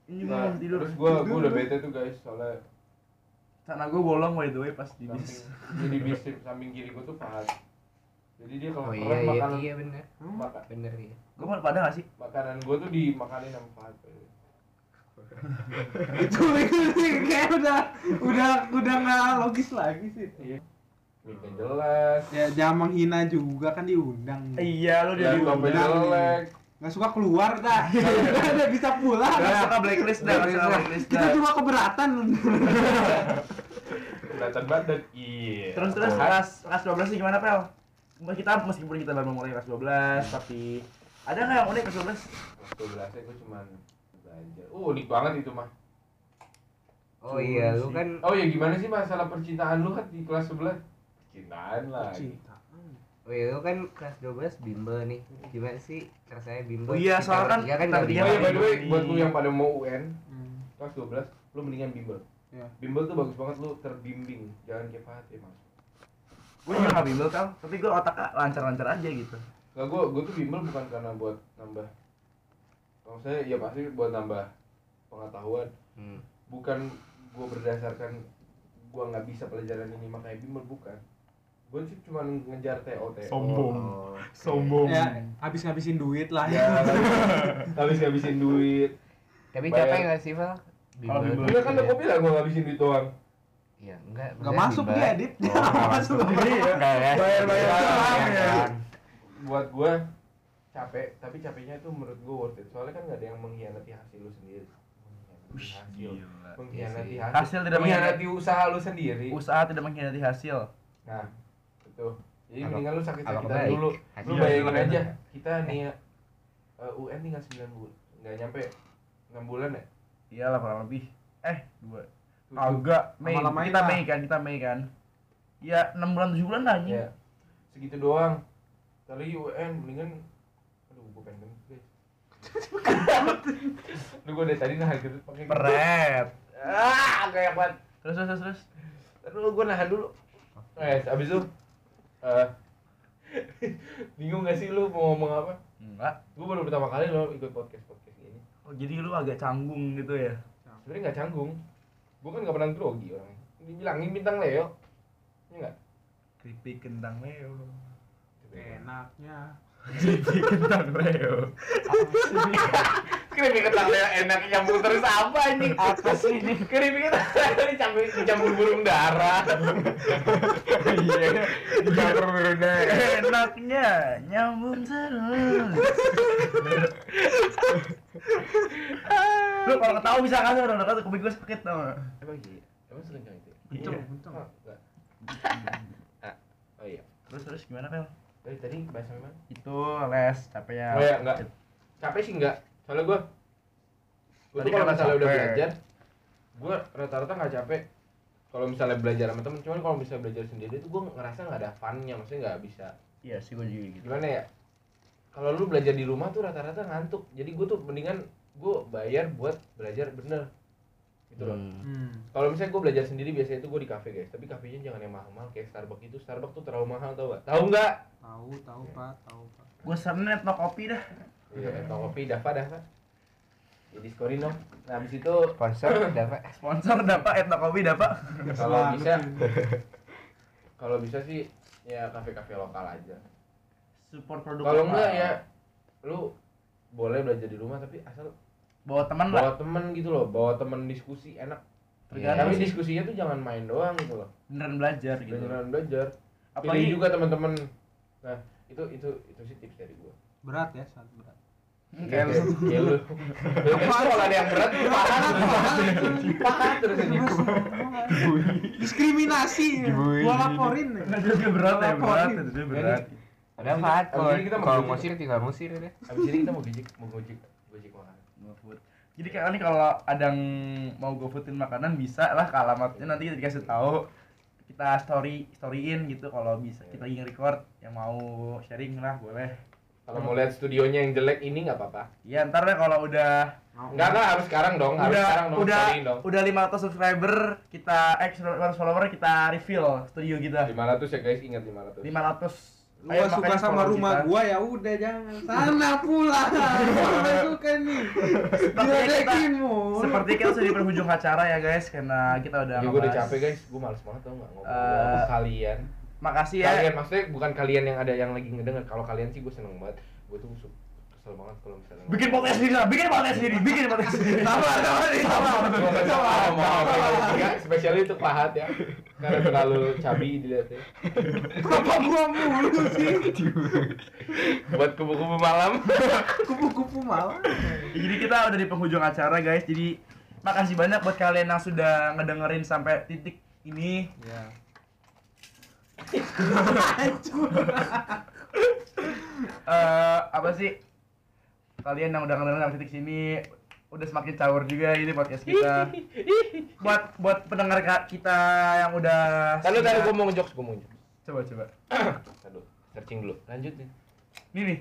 Speaker 2: Ini
Speaker 1: Nah,
Speaker 2: mau tidur.
Speaker 1: terus gua gua udah bete tuh guys soalnya
Speaker 2: Sana gue bolong by the way pas di
Speaker 1: samping
Speaker 2: bis.
Speaker 1: jadi bis samping kiri gua tuh pahat jadi dia kalau
Speaker 7: Oh iya
Speaker 1: makan
Speaker 7: iya
Speaker 1: makanan
Speaker 7: iya bener.
Speaker 1: maka-
Speaker 7: Bener iya.
Speaker 2: Gue mau pada gak sih?
Speaker 1: makanan gua tuh dimakanin sama pahat
Speaker 4: itu itu kayak udah udah udah nggak logis lagi sih
Speaker 2: Iya.
Speaker 1: minta jelas
Speaker 4: ya jangan menghina juga kan diundang
Speaker 2: Iya, lu
Speaker 1: ya
Speaker 2: jadi
Speaker 1: sampai
Speaker 4: diundang.
Speaker 1: jelek
Speaker 4: nggak suka keluar dah udah udah bisa pulang
Speaker 2: Gak suka blacklist dah, gak suka blacklist dah.
Speaker 4: kita cuma keberatan
Speaker 1: kelihatan badan iya
Speaker 2: Terus terus kelas kelas 12 nih gimana Pel? Kita meskipun kita baru mulai kelas 12 tapi ada nggak yang unik kelas 12?
Speaker 1: waktu belasnya gue cuman belajar uh unik banget itu mah
Speaker 7: Oh iya, lu
Speaker 2: sih.
Speaker 7: kan
Speaker 1: oh ya gimana sih masalah percintaan lu kan di kelas sebelah percintaan lah
Speaker 7: Oh iya, lu kan kelas 12 bimbel nih. Gimana sih rasanya bimbel?
Speaker 2: Oh iya,
Speaker 7: Kita
Speaker 2: soalnya kan
Speaker 7: bertiga kan
Speaker 2: kita
Speaker 7: gak
Speaker 2: bertiga
Speaker 1: oh ya
Speaker 7: bimbel.
Speaker 1: by the way buat lu yang pada mau UN
Speaker 4: Hmm.
Speaker 1: kelas 12 lu mendingan bimbel
Speaker 4: Iya.
Speaker 1: bimbel tuh bagus banget lu terbimbing jangan kayak Fatih mas
Speaker 2: Gue juga nggak bimbel Pel, tapi gue otak lancar-lancar aja gitu.
Speaker 1: Gak, gue gue tuh bimbel bukan karena buat nambah maksudnya ya pasti buat nambah pengetahuan
Speaker 7: Hmm.
Speaker 1: bukan gue berdasarkan gue nggak bisa pelajaran ini makanya bimbel bukan gue sih cuma ngejar TO TO
Speaker 6: Sombong.
Speaker 7: Oh, oke.
Speaker 6: Sombong.
Speaker 4: ya habis ngabisin duit lah
Speaker 1: ya habis ngabisin duit
Speaker 7: Tapi
Speaker 1: Bayar.
Speaker 7: capek gak sih, Val?
Speaker 2: Kalau bimbel.
Speaker 1: Iya kan udah gue bilang gue ngabisin duit doang
Speaker 7: Iya, enggak.
Speaker 4: nggak masuk dia edit
Speaker 7: Oh,
Speaker 4: nggak masuk
Speaker 2: Bayar-bayar.
Speaker 1: Buat gue capek, tapi capeknya itu menurut gue worth it Soalnya kan gak ada yang mengkhianati hasil lu sendiri Mengkhianati hasil Mengkhianati
Speaker 7: Iya
Speaker 1: hasil,
Speaker 2: Hasil tidak
Speaker 1: Mengkhianati usaha lu sendiri
Speaker 2: Usaha tidak mengkhianati hasil.
Speaker 1: Nah, itu Jadi
Speaker 7: Kalau-
Speaker 1: mendingan lu
Speaker 7: kalau
Speaker 1: sakit-sakitan
Speaker 7: baik,
Speaker 1: dulu Lu
Speaker 7: hasil
Speaker 1: bayangin
Speaker 7: enak.
Speaker 1: aja, kita nih eh, UN tinggal 9 bulan Gak nyampe 6 bulan ya?
Speaker 2: Iyalah kurang Iya, lebih. Eh, dua.
Speaker 1: Tujuh.
Speaker 2: Agak Mei.
Speaker 4: Lama-lamain
Speaker 2: Kita
Speaker 4: lah.
Speaker 2: Mei kan, kita Mei kan. Ya 6 bulan 7 bulan lah anjing.
Speaker 1: Ya, segitu doang Tadi UN mendingan Aduh, gue pengen gendut, guys Lu gue dari tadi nahan gendut pakai gendut.
Speaker 2: Peret.
Speaker 1: ah kayak banget
Speaker 2: Terus terus terus. terus.
Speaker 1: terus gue nahan dulu eh abis itu eh, bingung gak sih lu mau ngomong apa
Speaker 2: Enggak.
Speaker 1: gue baru pertama kali lo ikut podcast podcast ini
Speaker 2: Oh, jadi lu agak canggung gitu ya.
Speaker 1: sebenarnya nggak canggung gue kan nggak pernah grogi orang dibilangin bintang leo ini nggak
Speaker 2: Keripik kentang Leo.
Speaker 4: enaknya
Speaker 2: Keripik kentang Leo.
Speaker 3: Keripik ketan Leo enak nyambung terus apa anjing?
Speaker 4: apa sih ini
Speaker 3: Keripik
Speaker 7: gitu.
Speaker 3: ketan Leo dicampur dicampur burung dara. Iya. Dicampur burung dara.
Speaker 2: Enaknya nyambung terus. lu kalau ketawa bisa kan orang kata kuping gue sakit tau nggak?
Speaker 1: emang iya
Speaker 2: Iya.
Speaker 1: emang
Speaker 2: gitu?
Speaker 1: sekencang itu
Speaker 2: Kenceng,
Speaker 1: Enggak. Ah, oh iya
Speaker 2: Terus terus gimana Pel?
Speaker 1: Tadi tadi bahasa memang.
Speaker 3: Oh,
Speaker 2: itu les capeknya
Speaker 7: Hmm.
Speaker 1: Oh ya, enggak. Capek sih enggak. Soalnya gua gua
Speaker 2: Tadi
Speaker 1: tuh kalau
Speaker 2: kata
Speaker 1: misalnya udah
Speaker 2: capek.
Speaker 1: belajar, gua rata-rata nggak capek. Kalau misalnya belajar sama temen, cuman kalau misalnya belajar sendiri tuh gua ngerasa nggak ada funnya, maksudnya nggak bisa.
Speaker 2: iya sih gue juga gitu
Speaker 1: Gimana ya? Kalau lu belajar di rumah tuh rata-rata ngantuk. Jadi gua tuh mendingan gua bayar buat belajar bener. Gitu loh.
Speaker 4: Hmm,
Speaker 1: Kalau misalnya gue belajar sendiri biasanya itu gue di kafe guys, tapi kafenya jangan yang mahal-mahal kayak Starbucks itu. Starbucks tuh terlalu mahal tau gak? Tahu nggak?
Speaker 4: Tahu, tahu Pak, tahu Pak.
Speaker 2: gue senet no kopi dah
Speaker 1: Iya, tau kopi Dava Dava. Jadi skorin dong. Nah, habis itu
Speaker 3: Sponsor dapat.
Speaker 2: sponsor dapat etno kopi dapat
Speaker 1: kalau bisa kalau bisa sih ya kafe-kafe lokal aja.
Speaker 2: support produk
Speaker 1: Kalau
Speaker 2: lokal.
Speaker 1: enggak ya lu boleh belajar di rumah tapi asal
Speaker 2: bawa teman lah
Speaker 1: bawa temen gitu loh, bawa temen diskusi enak.
Speaker 2: tergantung
Speaker 1: Tapi
Speaker 2: sih
Speaker 1: diskusinya tuh jangan main doang gitu loh.
Speaker 2: beneran belajar gitu
Speaker 1: Beneran belajar.
Speaker 2: apalagi
Speaker 1: Pilih juga teman-teman. Nah, itu itu itu sih tips dari gua.
Speaker 4: Berat ya, sangat berat.
Speaker 2: Hmm,
Speaker 1: Kayak Iya, lu.
Speaker 2: gitu. Iya,
Speaker 1: Kayak lu. Lu kan kalau ada yang berat lu paham. Paham terus aja.
Speaker 4: Diskriminasi.
Speaker 8: Dibully.
Speaker 4: Gua laporin. nih.
Speaker 2: Nggak juga berat ya
Speaker 4: Apa
Speaker 2: berat
Speaker 4: ini?
Speaker 2: itu
Speaker 1: Iya,
Speaker 2: juga berat
Speaker 3: Ada
Speaker 1: Abis ini-
Speaker 3: empat.
Speaker 1: abis ini kita mau
Speaker 3: Kalau
Speaker 1: gojek.
Speaker 3: musir tinggal musir deh.
Speaker 1: Abis ini kita mau gojek, mau gojek, gojek makanan.
Speaker 2: GoFood. Jadi kayak nih kalau ada yang mau gofoodin makanan bisa lah ke alamatnya nanti kita dikasih tahu kita story storyin gitu kalau bisa kita lagi record yang mau sharing lah boleh
Speaker 1: Kalau mau lihat studionya yang jelek ini nggak apa-apa.
Speaker 2: ya ntar deh kalau udah
Speaker 1: Nggak nggak harus sekarang dong, harus
Speaker 2: udah
Speaker 1: sekarang dong,
Speaker 2: udah
Speaker 1: storyin dong.
Speaker 2: udah 500 subscriber kita eh 500 follower kita reveal studio kita
Speaker 1: 500 ya guys, ingat 500.
Speaker 2: 500
Speaker 4: Lu
Speaker 2: Ayo,
Speaker 4: gak suka
Speaker 2: makanya
Speaker 4: sama
Speaker 2: follow
Speaker 4: rumah
Speaker 2: kita.
Speaker 4: gua ya udah jangan sana pula. Gua gak suka nih.
Speaker 2: Sepertinya kita-
Speaker 4: Diledekin mulu.
Speaker 2: seperti kita sudah di penghujung acara ya guys karena kita udah
Speaker 1: Ya gue udah
Speaker 2: ngebahas.
Speaker 1: capek guys, gue males banget tau nggak ngomong
Speaker 2: Eh,
Speaker 1: sama kalian.
Speaker 2: makasih ya
Speaker 1: Kalian maksudnya bukan kalian yang ada yang lagi ngedenger. Kalau kalian sih gue seneng banget. Gue tuh su- kesel banget kalau misalnya.
Speaker 2: bikin podcast sendiri lah bikin podcast sendiri bikin podcast sendiri sabar sabar nih, sabar
Speaker 1: Gua nggak tahu mau ngomong apa. Nggak, Spesialnya itu pahat ya, karena terlalu cabi dilihatnya.
Speaker 4: Kenapa gua mulu sih?
Speaker 1: Buat kubu-kubu malam.
Speaker 4: Kupu-kupu malah.
Speaker 2: jadi kita udah di penghujung acara guys jadi makasih banyak buat kalian yang sudah ngedengerin sampai titik ini
Speaker 1: Iya.
Speaker 4: Ya.
Speaker 2: eh apa sih kalian yang udah ngedengerin sampai titik sini udah semakin caur juga ini podcast kita buat buat pendengar ka- kita yang udah
Speaker 1: Tadi tadi gue mau ngejokes, gue mau ngejokes.
Speaker 2: coba coba
Speaker 1: Aduh, searching dulu. Lanjut nih.
Speaker 2: ini nih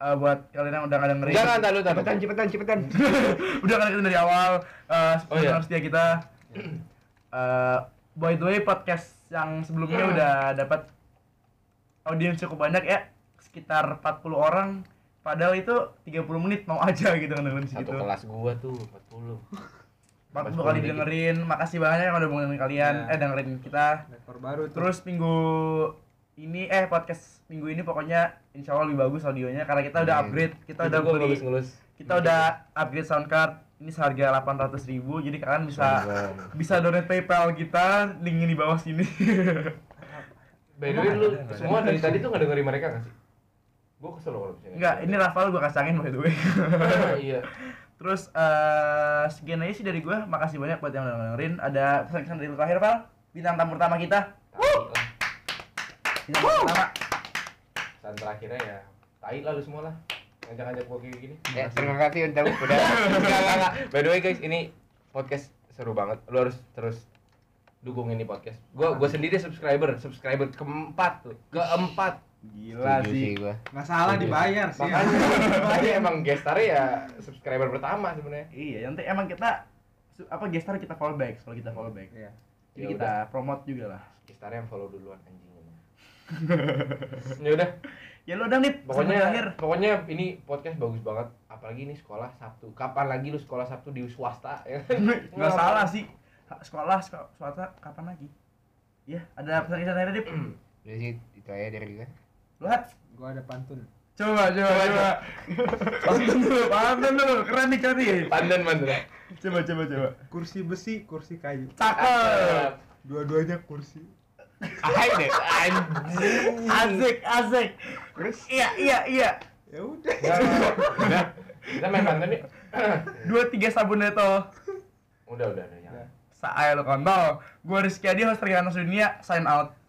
Speaker 2: eh, buat kalian yang udah ngedengerin
Speaker 1: Jangan tadi tadi.
Speaker 3: Cepetan cepetan cepetan.
Speaker 2: udah kan kita dari awal eh
Speaker 1: Oh, iya.
Speaker 2: pendengar setia kita Eh, by the way podcast yang sebelumnya udah dapat audiens cukup banyak ya sekitar 40 orang padahal itu 30 menit mau aja gitu kan dengan
Speaker 1: Satu
Speaker 2: segitu
Speaker 1: kelas gua tuh 40.
Speaker 2: 40 kali
Speaker 1: menit.
Speaker 2: dengerin makasih banyak yang udah dengerin kalian
Speaker 4: Iya.
Speaker 2: eh dengerin kita
Speaker 4: Rekor baru tuh.
Speaker 2: terus minggu ini eh podcast minggu ini pokoknya insya Allah lebih bagus audionya karena kita udah
Speaker 1: Iya.
Speaker 2: upgrade kita
Speaker 1: Itu
Speaker 2: udah
Speaker 1: gua
Speaker 2: beli
Speaker 1: ngelus-ngelus.
Speaker 2: kita udah upgrade soundcard ini seharga 800.000 ribu jadi kalian bisa bisa donate PayPal kita linknya di bawah sini
Speaker 1: By the way lu semua dari tadi tuh nggak dengerin mereka nggak sih? Gua kesel loh kalau misalnya.
Speaker 2: enggak ini Rafael gua kacangin by the way
Speaker 1: Iya.
Speaker 2: terus eh sekian aja sih dari gua makasih banyak buat yang udah dengerin ada pesan-pesan dari lu terakhir Val bintang tamu pertama kita
Speaker 1: Tai lah.
Speaker 2: bintang tamu pertama
Speaker 1: Dan terakhirnya ya tai lah lu semua lah. Ngajak-ngajak gua kayak gini.
Speaker 3: Ya terima kasih udah udah.
Speaker 1: Enggak, enggak, enggak. By the way guys, ini podcast seru banget. Lu harus terus dukung ini podcast. Gua gua sendiri subscriber, subscriber keempat tuh. Keempat.
Speaker 2: gila
Speaker 3: Setuju
Speaker 2: sih
Speaker 3: gua.
Speaker 4: Enggak salah dibayar sih. ya.
Speaker 1: Makanya
Speaker 3: Iya.
Speaker 1: makanya emang gestarnya ya subscriber pertama sebenarnya.
Speaker 2: iya nanti emang kita su- apa gestar kita follow back kalau kita follow back
Speaker 4: Iya.
Speaker 2: jadi
Speaker 1: Ya
Speaker 2: kita promote juga lah
Speaker 1: Gestarnya yang follow duluan anjing. ya udah,
Speaker 2: ya lu udah nih
Speaker 1: pokoknya
Speaker 2: terakhir
Speaker 1: pokoknya ini podcast bagus banget. Apalagi ini sekolah Sabtu. Kapan lagi lu sekolah Sabtu di swasta ya? kan?
Speaker 2: nggak salah sih Ha- sekolah sekolah swasta kapan lagi Iya, ada pesan-pesan terakhir dip
Speaker 3: Udah sih itu aja dari gua.
Speaker 2: lu hat
Speaker 4: Gua ada pantun.
Speaker 2: Coba, coba, coba. Pantun dulu, pantun dulu. Keren nih, keren nih.
Speaker 1: Pandan mantan.
Speaker 2: Coba, coba, coba.
Speaker 4: Kursi besi, kursi kayu.
Speaker 2: Cakep.
Speaker 4: Dua-duanya kursi.
Speaker 3: Ah. Ayo deh. Anjing.
Speaker 2: Asik, asik. Iya, iya, iya.
Speaker 4: Ya udah.
Speaker 1: Udah. Kita main pandan yuk.
Speaker 2: Dua tiga sabun itu.
Speaker 1: Udah, udah, udah. jangan.
Speaker 2: Saya lo kontol. Gue Rizky Adi, host Rihanna Dunia. Sign out.